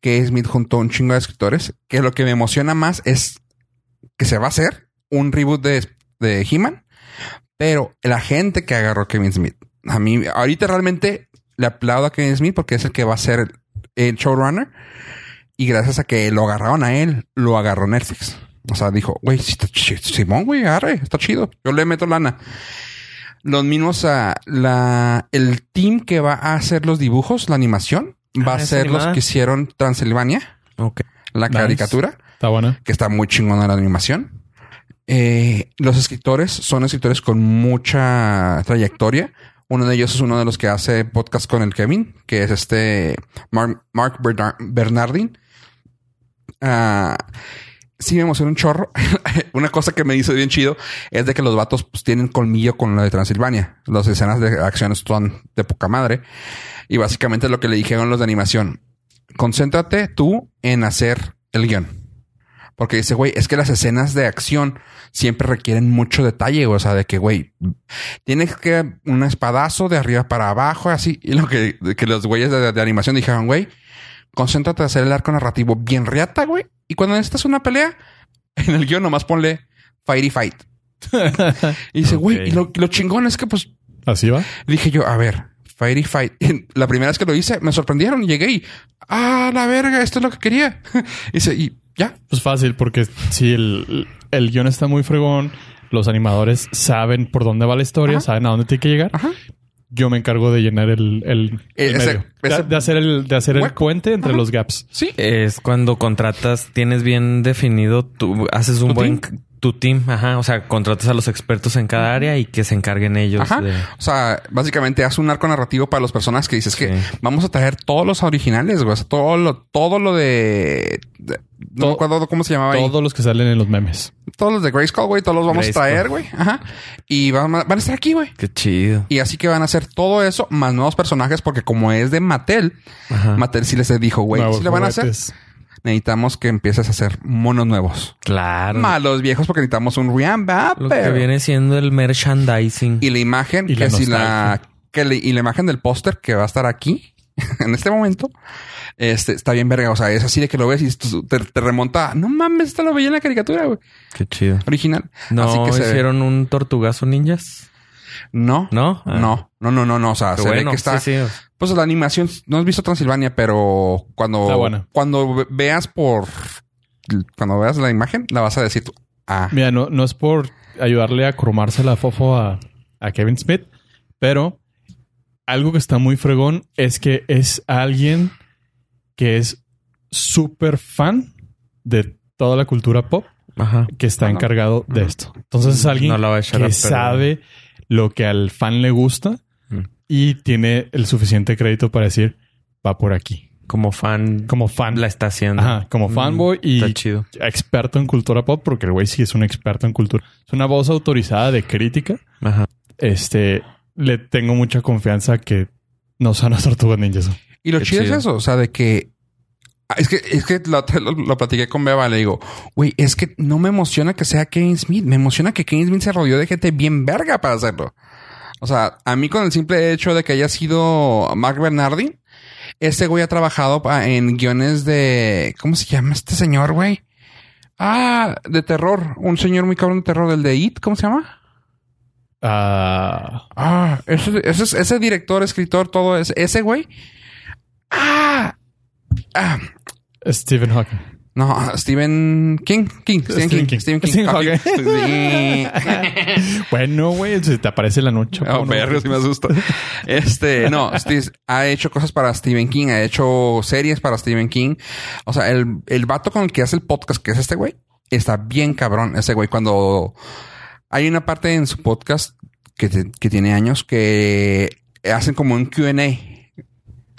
Speaker 1: que Smith juntó un chingo de escritores, que lo que me emociona más es que se va a hacer un reboot de, de He-Man, pero la gente que agarró Kevin Smith. A mí, ahorita realmente le aplaudo a Kevin Smith porque es el que va a ser el, el showrunner. Y gracias a que lo agarraron a él, lo agarró Netflix. O sea, dijo, güey, si está chi- Simón, güey, agarre, está chido. Yo le meto lana. Los mismos, ah, la, el team que va a hacer los dibujos, la animación, va
Speaker 3: Ah,
Speaker 1: a
Speaker 3: es
Speaker 1: ser los
Speaker 3: animada.
Speaker 1: que hicieron Transilvania,
Speaker 3: Ok.
Speaker 1: la
Speaker 2: Nice.
Speaker 1: caricatura,
Speaker 2: Está buena.
Speaker 1: que está muy chingona la animación. Eh, los escritores son escritores con mucha trayectoria. Uno de ellos es uno de los que hace podcast con el Kevin, que es este Mark, Mark Bernar- Bernardin. Ah, sí, me emociona un chorro. Una cosa que me hizo bien chido es de que los vatos pues, tienen colmillo con lo de Transilvania. Las escenas de acción están de poca madre. Y básicamente lo que le dijeron los de animación. Concéntrate tú en hacer el guión. Porque dice, güey, es que las escenas de acción siempre requieren mucho detalle. O sea, de que, güey, tienes que un espadazo de arriba para abajo, así. Y lo que, que los güeyes de, de animación dijeron, güey, concéntrate en hacer el arco narrativo bien riata, güey. Y cuando necesitas una pelea, en el guión nomás ponle fighty fight. Y dice, güey,
Speaker 3: Ok.
Speaker 1: y lo, lo chingón es que, pues,
Speaker 2: Así va.
Speaker 1: Dije yo, a ver, Fighty Fight. La primera vez que lo hice, me sorprendieron. y Llegué y, ah, la verga, esto es lo que quería. Dice, y ya.
Speaker 2: Pues fácil, porque si el, el guión está muy fregón, los animadores saben por dónde va la historia,
Speaker 1: Ajá.
Speaker 2: saben a dónde tiene que llegar.
Speaker 1: Ajá.
Speaker 2: Yo me encargo de llenar el, el,
Speaker 1: Eh,
Speaker 2: el
Speaker 1: ese-
Speaker 2: medio. De-
Speaker 1: ese-
Speaker 2: de, hacer el, de hacer el
Speaker 1: Hueco.
Speaker 2: puente entre
Speaker 1: Ajá.
Speaker 2: los gaps.
Speaker 1: Sí.
Speaker 3: Es cuando contratas, tienes bien definido, tú haces un
Speaker 2: ¿Tu
Speaker 3: buen
Speaker 2: team?
Speaker 3: c- tu team, ajá. O sea, contratas a los expertos en cada área y que se encarguen ellos.
Speaker 1: Ajá.
Speaker 3: de-
Speaker 1: O sea, básicamente haz un arco narrativo para los personajes que dices que
Speaker 3: Sí.
Speaker 1: vamos a traer todos los originales, güey. O sea, todo lo, todo lo de. de- no
Speaker 2: To-
Speaker 1: me acuerdo cómo se llamaba ahí.
Speaker 2: Todos los que salen en los memes.
Speaker 1: Todos los de Grayskull, güey. Todos los vamos
Speaker 3: Grayskull.
Speaker 1: a traer, güey. Ajá. Y van, a- van a estar aquí, güey.
Speaker 3: Qué chido.
Speaker 1: Y así que van a hacer todo eso más nuevos personajes, porque como es de Mattel,
Speaker 3: Ajá.
Speaker 1: Mattel sí les dijo, güey,
Speaker 2: Ah. Nuevos
Speaker 1: si le van a hacer,
Speaker 2: juguetes.
Speaker 1: necesitamos que empieces a hacer monos nuevos.
Speaker 3: Claro.
Speaker 1: Malos viejos, porque necesitamos un
Speaker 3: Lo que
Speaker 1: Riambapper.
Speaker 3: viene siendo el merchandising.
Speaker 1: Y la imagen,
Speaker 2: Y la
Speaker 1: que si la.
Speaker 2: nostalgia.
Speaker 1: Que le- y la imagen del póster que va a estar aquí, en este momento, este está bien verga. O sea, es así de que lo ves y tú- te, te remonta. No mames, esta lo veía en la caricatura, güey.
Speaker 3: Qué chido.
Speaker 1: Original. así
Speaker 3: ¿No
Speaker 1: que se ve.
Speaker 3: hicieron un tortugazo ninjas?
Speaker 1: No.
Speaker 3: ¿No? Ah,
Speaker 1: No, no, no, no, no. O sea,
Speaker 3: qué
Speaker 1: se
Speaker 3: bueno.
Speaker 1: ve que está.
Speaker 3: Sí, sí.
Speaker 1: Pues la animación, no has visto Transilvania, pero
Speaker 2: Está
Speaker 1: cuando,
Speaker 2: buena.
Speaker 1: cuando ve- veas por cuando veas la imagen, la vas a decir tú. Ah,
Speaker 2: Mira, no, no es por ayudarle a cromarse la fofo a, a Kevin Smith, pero algo que está muy fregón es que es alguien que es súper fan de toda la cultura pop
Speaker 3: Ajá.
Speaker 2: que está
Speaker 1: Ajá.
Speaker 2: encargado de esto. Entonces es alguien
Speaker 3: No la va a echar a
Speaker 2: que
Speaker 3: perder.
Speaker 2: sabe lo que al fan le gusta
Speaker 3: Mm.
Speaker 2: y tiene el suficiente crédito para decir va por aquí.
Speaker 3: Como fan,
Speaker 2: Como fan,
Speaker 3: la está haciendo.
Speaker 2: ajá, como
Speaker 3: Mm,
Speaker 2: fanboy y
Speaker 3: Está chido.
Speaker 2: experto en cultura pop, porque el güey sí es un experto en cultura. Es una voz autorizada de crítica.
Speaker 3: Ajá.
Speaker 2: Este, le tengo mucha confianza que no son las tortugas ninjas.
Speaker 1: y lo
Speaker 3: qué
Speaker 1: chido,
Speaker 3: chido.
Speaker 1: es eso, o sea, de que ah, es que es que lo, lo, lo platiqué con Beba, le digo, güey, es que no me emociona que sea Kevin Smith, me emociona que Kevin Smith se rodeó de gente bien verga para hacerlo. O sea, a mí con el simple hecho de que haya sido Mark Bernardi, este güey ha trabajado pa- en guiones de ¿cómo se llama este señor, güey? Ah, de terror, un señor muy cabrón de terror, del de It, ¿cómo se llama?
Speaker 2: Ah,
Speaker 1: Ah, ese, ese, ese director, escritor, todo ese, ese güey. Ah, ah,
Speaker 2: Stephen Hawking.
Speaker 1: no, Stephen King, King, Stephen King, Stephen King.
Speaker 2: Stephen
Speaker 1: papi. Sí.
Speaker 2: Bueno, güey, si te aparece la noche.
Speaker 1: Ah,
Speaker 2: ¿cómo no?
Speaker 1: verga, sí me asusta. Este, no, Steve- ha hecho cosas para Stephen King, ha hecho series para Stephen King. O sea, el, el vato con el que hace el podcast, que es este güey, está bien cabrón. Ese güey, cuando hay una parte en su podcast que, te- que tiene años que hacen como un QA.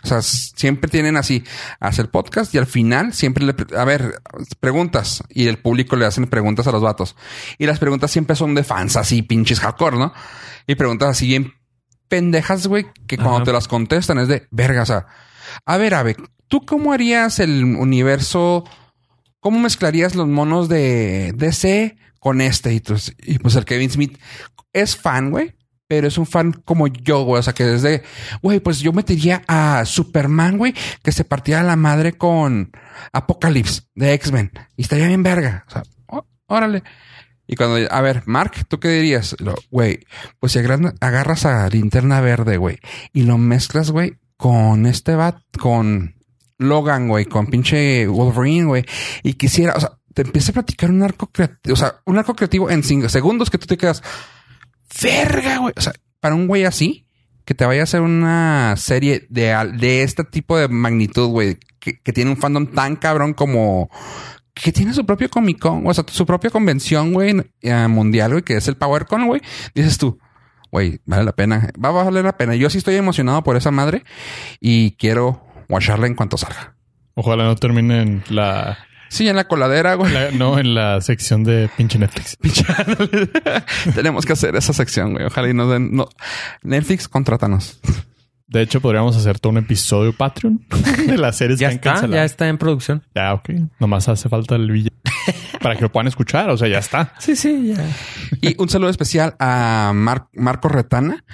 Speaker 1: O sea, s- siempre tienen así, hace el podcast y al final siempre le, pre- a ver, preguntas y el público le hacen preguntas a los vatos. Y las preguntas siempre son de fans así, pinches hardcore, ¿no? Y preguntas así bien pendejas, güey, que cuando
Speaker 3: Ajá.
Speaker 1: te las contestan es de verga. O sea, a ver, Ave, ¿tú cómo harías el universo? ¿Cómo mezclarías los monos de DC con este? Y, tú- y pues el Kevin Smith es fan, güey. Pero es un fan como yo, güey. O sea, que desde, güey, pues yo metería a Superman, güey, que se partiera la madre con Apocalypse de X-Men. Y estaría bien verga. O sea, ó- órale. Y cuando, a ver, Mark, ¿tú qué dirías? Y luego, Güey, pues si agra- agarras a linterna verde, güey, y lo mezclas, güey, con este bat, con Logan, güey, con pinche Wolverine, güey, y quisiera, o sea, te empieza a platicar un arco creativo, o sea, un arco creativo en cinco segundos que tú te quedas, verga, güey, o sea, para un güey así, que te vaya a hacer una serie de, al- de este tipo de magnitud, güey, que, que tiene un fandom tan cabrón como... Que tiene su propio Comic Con, o sea, su propia convención, güey, eh, mundial, güey, que es el Power Con, güey. Dices tú, güey, vale la pena. Va a valer la pena. Yo sí estoy emocionado por esa madre y quiero watcharla en cuanto salga.
Speaker 2: Ojalá no termine en la,
Speaker 1: Sí, en la coladera, güey.
Speaker 2: la- no en la sección de pinche Netflix.
Speaker 1: Tenemos que hacer esa sección, güey. Ojalá y nos den. No. Netflix, contrátanos.
Speaker 2: De hecho, podríamos hacer todo un episodio Patreon de las series
Speaker 3: Ya
Speaker 2: que han
Speaker 3: está, ya
Speaker 2: cancelado.
Speaker 3: está en producción.
Speaker 2: Ya, ok. Nomás hace falta el villano para que lo puedan escuchar. O sea, ya está.
Speaker 3: Sí, sí, ya.
Speaker 1: Y un saludo especial a Mar- Marco Retana,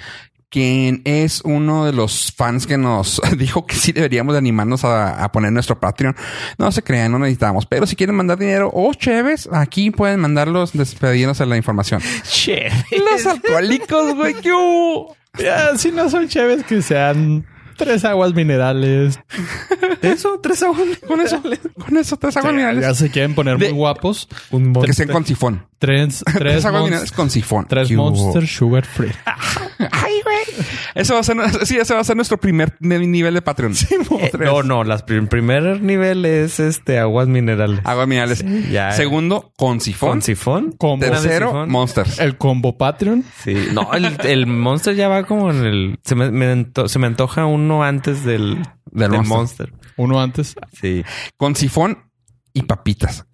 Speaker 1: quien es uno de los fans que nos dijo que sí deberíamos de animarnos a, a poner nuestro Patreon. No se crean, no necesitamos. Pero si quieren mandar dinero o cheves, aquí pueden mandarlos despedirnos de la información.
Speaker 3: Che.
Speaker 1: Los alcohólicos, güey, ¿qué hubo?
Speaker 2: Ya, si no son chéves que sean tres aguas minerales,
Speaker 3: Eso, tres a uno.
Speaker 1: Con eso, con eso, tres
Speaker 2: Ya,
Speaker 1: aguaminales.
Speaker 2: se quieren poner
Speaker 3: De-
Speaker 2: muy guapos.
Speaker 1: que sean con sifón.
Speaker 2: Tres, tres,
Speaker 1: Tres
Speaker 2: monst-
Speaker 1: aguaminales con sifón.
Speaker 2: tres
Speaker 1: ¿Qué hubo?
Speaker 2: Monster Sugar Free.
Speaker 1: Ay, güey. Eso va a ser, sí, ese va a ser nuestro primer ni- nivel de Patreon.
Speaker 3: Eh,
Speaker 1: Tres.
Speaker 3: no, no, las prim- primer nivel es este aguas minerales.
Speaker 1: Aguaminales.
Speaker 3: ya.
Speaker 1: Segundo, con sifón.
Speaker 3: ¿Con sifón?
Speaker 2: Combo.
Speaker 3: Era de
Speaker 1: Tercero,
Speaker 3: sifón. Eh.
Speaker 1: monsters.
Speaker 2: El combo Patreon.
Speaker 3: Sí. No, el, el monster ya va como en el. Se me, me anto- se me antoja uno antes del,
Speaker 1: Del
Speaker 3: del,
Speaker 1: monster.
Speaker 3: monster.
Speaker 2: Uno antes.
Speaker 3: Sí.
Speaker 1: Con sifón y papitas.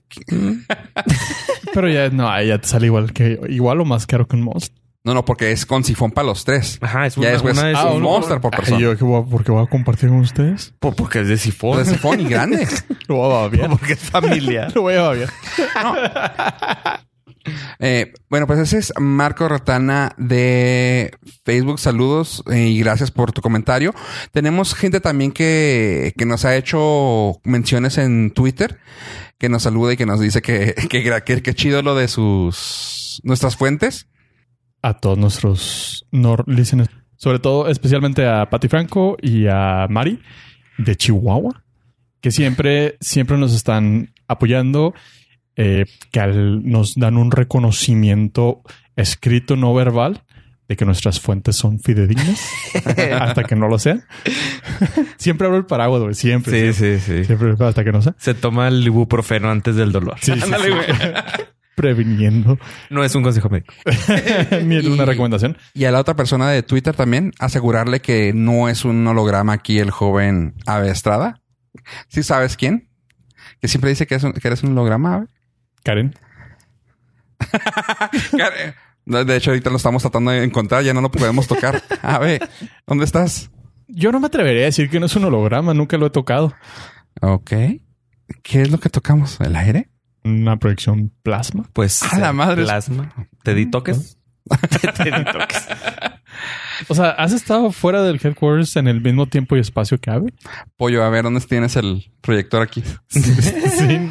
Speaker 2: Pero ya no, ahí ya te sale igual que igual o más caro que un Monster.
Speaker 1: No, no, porque es con sifón para los tres.
Speaker 3: Ajá, es
Speaker 1: Ya
Speaker 3: una,
Speaker 1: después-
Speaker 3: una de
Speaker 1: Ah, un
Speaker 3: sifón.
Speaker 1: monster por
Speaker 2: Ay,
Speaker 1: persona.
Speaker 2: yo que voy a- porque voy a compartir con ustedes.
Speaker 3: Por- porque es de
Speaker 1: O
Speaker 3: sifón.
Speaker 1: de sifón y grande.
Speaker 2: Lo voy a babear.
Speaker 3: porque es familiar.
Speaker 2: Lo voy a babear.
Speaker 1: Eh, bueno, pues ese es Marco Ratana de Facebook. Saludos eh, y gracias por tu comentario. Tenemos gente también que, que nos ha hecho menciones en Twitter, que nos saluda y que nos dice que, que, gra- que- que chido lo de sus nuestras fuentes.
Speaker 2: A todos nuestros nor listeners. Sobre todo, especialmente a Pati Franco y a Mari de Chihuahua, que siempre, siempre nos están apoyando, eh, que al- nos dan un reconocimiento escrito no verbal de que nuestras fuentes son fidedignas hasta que no lo sean. siempre abro el paraguas, güey. Siempre,
Speaker 3: Sí,
Speaker 2: siempre,
Speaker 3: sí, sí.
Speaker 2: siempre, hasta que no sea.
Speaker 3: Se toma el ibuprofeno antes del dolor.
Speaker 2: Sí, sí,
Speaker 1: Ándale,
Speaker 2: sí.
Speaker 1: güey.
Speaker 2: Previniendo.
Speaker 3: No es un consejo médico.
Speaker 2: Ni era una
Speaker 1: Y-
Speaker 2: recomendación.
Speaker 1: Y a la otra persona de Twitter también, asegurarle que no es un holograma aquí el joven Ave Estrada. ¿Sí sabes quién? Que siempre dice que, es un- que eres un holograma, Ave.
Speaker 2: Karen.
Speaker 1: Care- No, De hecho, ahorita lo estamos tratando de encontrar, ya no lo podemos tocar. A ver, ¿dónde estás?
Speaker 2: Yo no me atrevería a decir que no es un holograma, nunca lo he tocado.
Speaker 1: Ok. ¿Qué es lo que tocamos? ¿El aire?
Speaker 2: Una proyección plasma.
Speaker 3: Pues.
Speaker 1: A la
Speaker 3: eh,
Speaker 1: madre.
Speaker 3: Plasma. ¿Te di toques? Te di toques.
Speaker 2: O sea, ¿has estado fuera del headquarters en el mismo tiempo y espacio que Ave?
Speaker 1: Pollo, a ver, ¿dónde tienes el proyector aquí?
Speaker 2: Sí.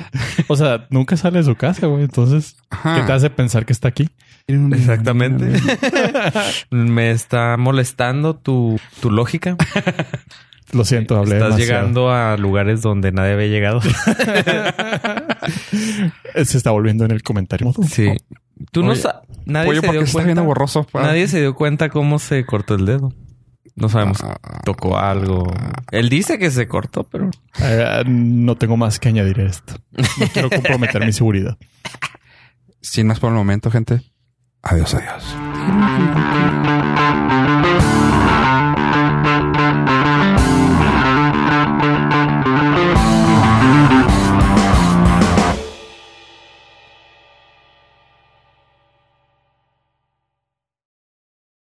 Speaker 2: O sea, nunca sale de su casa, güey. Entonces, ¿qué
Speaker 1: Ajá.
Speaker 2: te hace pensar que está aquí?
Speaker 3: Mm. Exactamente. Me está molestando tu, tu lógica.
Speaker 2: Lo siento, hablé
Speaker 3: Estás
Speaker 2: demasiado.
Speaker 3: llegando a lugares donde nadie había llegado.
Speaker 2: Eh, Se está volviendo en el comentario.
Speaker 3: Sí. Tú no
Speaker 1: Oh, Oye,
Speaker 3: sa- nadie
Speaker 1: Pollo,
Speaker 3: se
Speaker 1: porque
Speaker 3: dio
Speaker 1: está Ah.
Speaker 3: cuenta.
Speaker 1: bien borroso. pa.
Speaker 3: Nadie se dio cuenta cómo se cortó el dedo. No
Speaker 1: Ah,
Speaker 3: sabemos. Tocó algo. Él dice que se cortó, pero
Speaker 2: Eh, no tengo más que añadir a esto. No quiero comprometer mi seguridad.
Speaker 1: Sin más por el momento, gente. Adiós, adiós.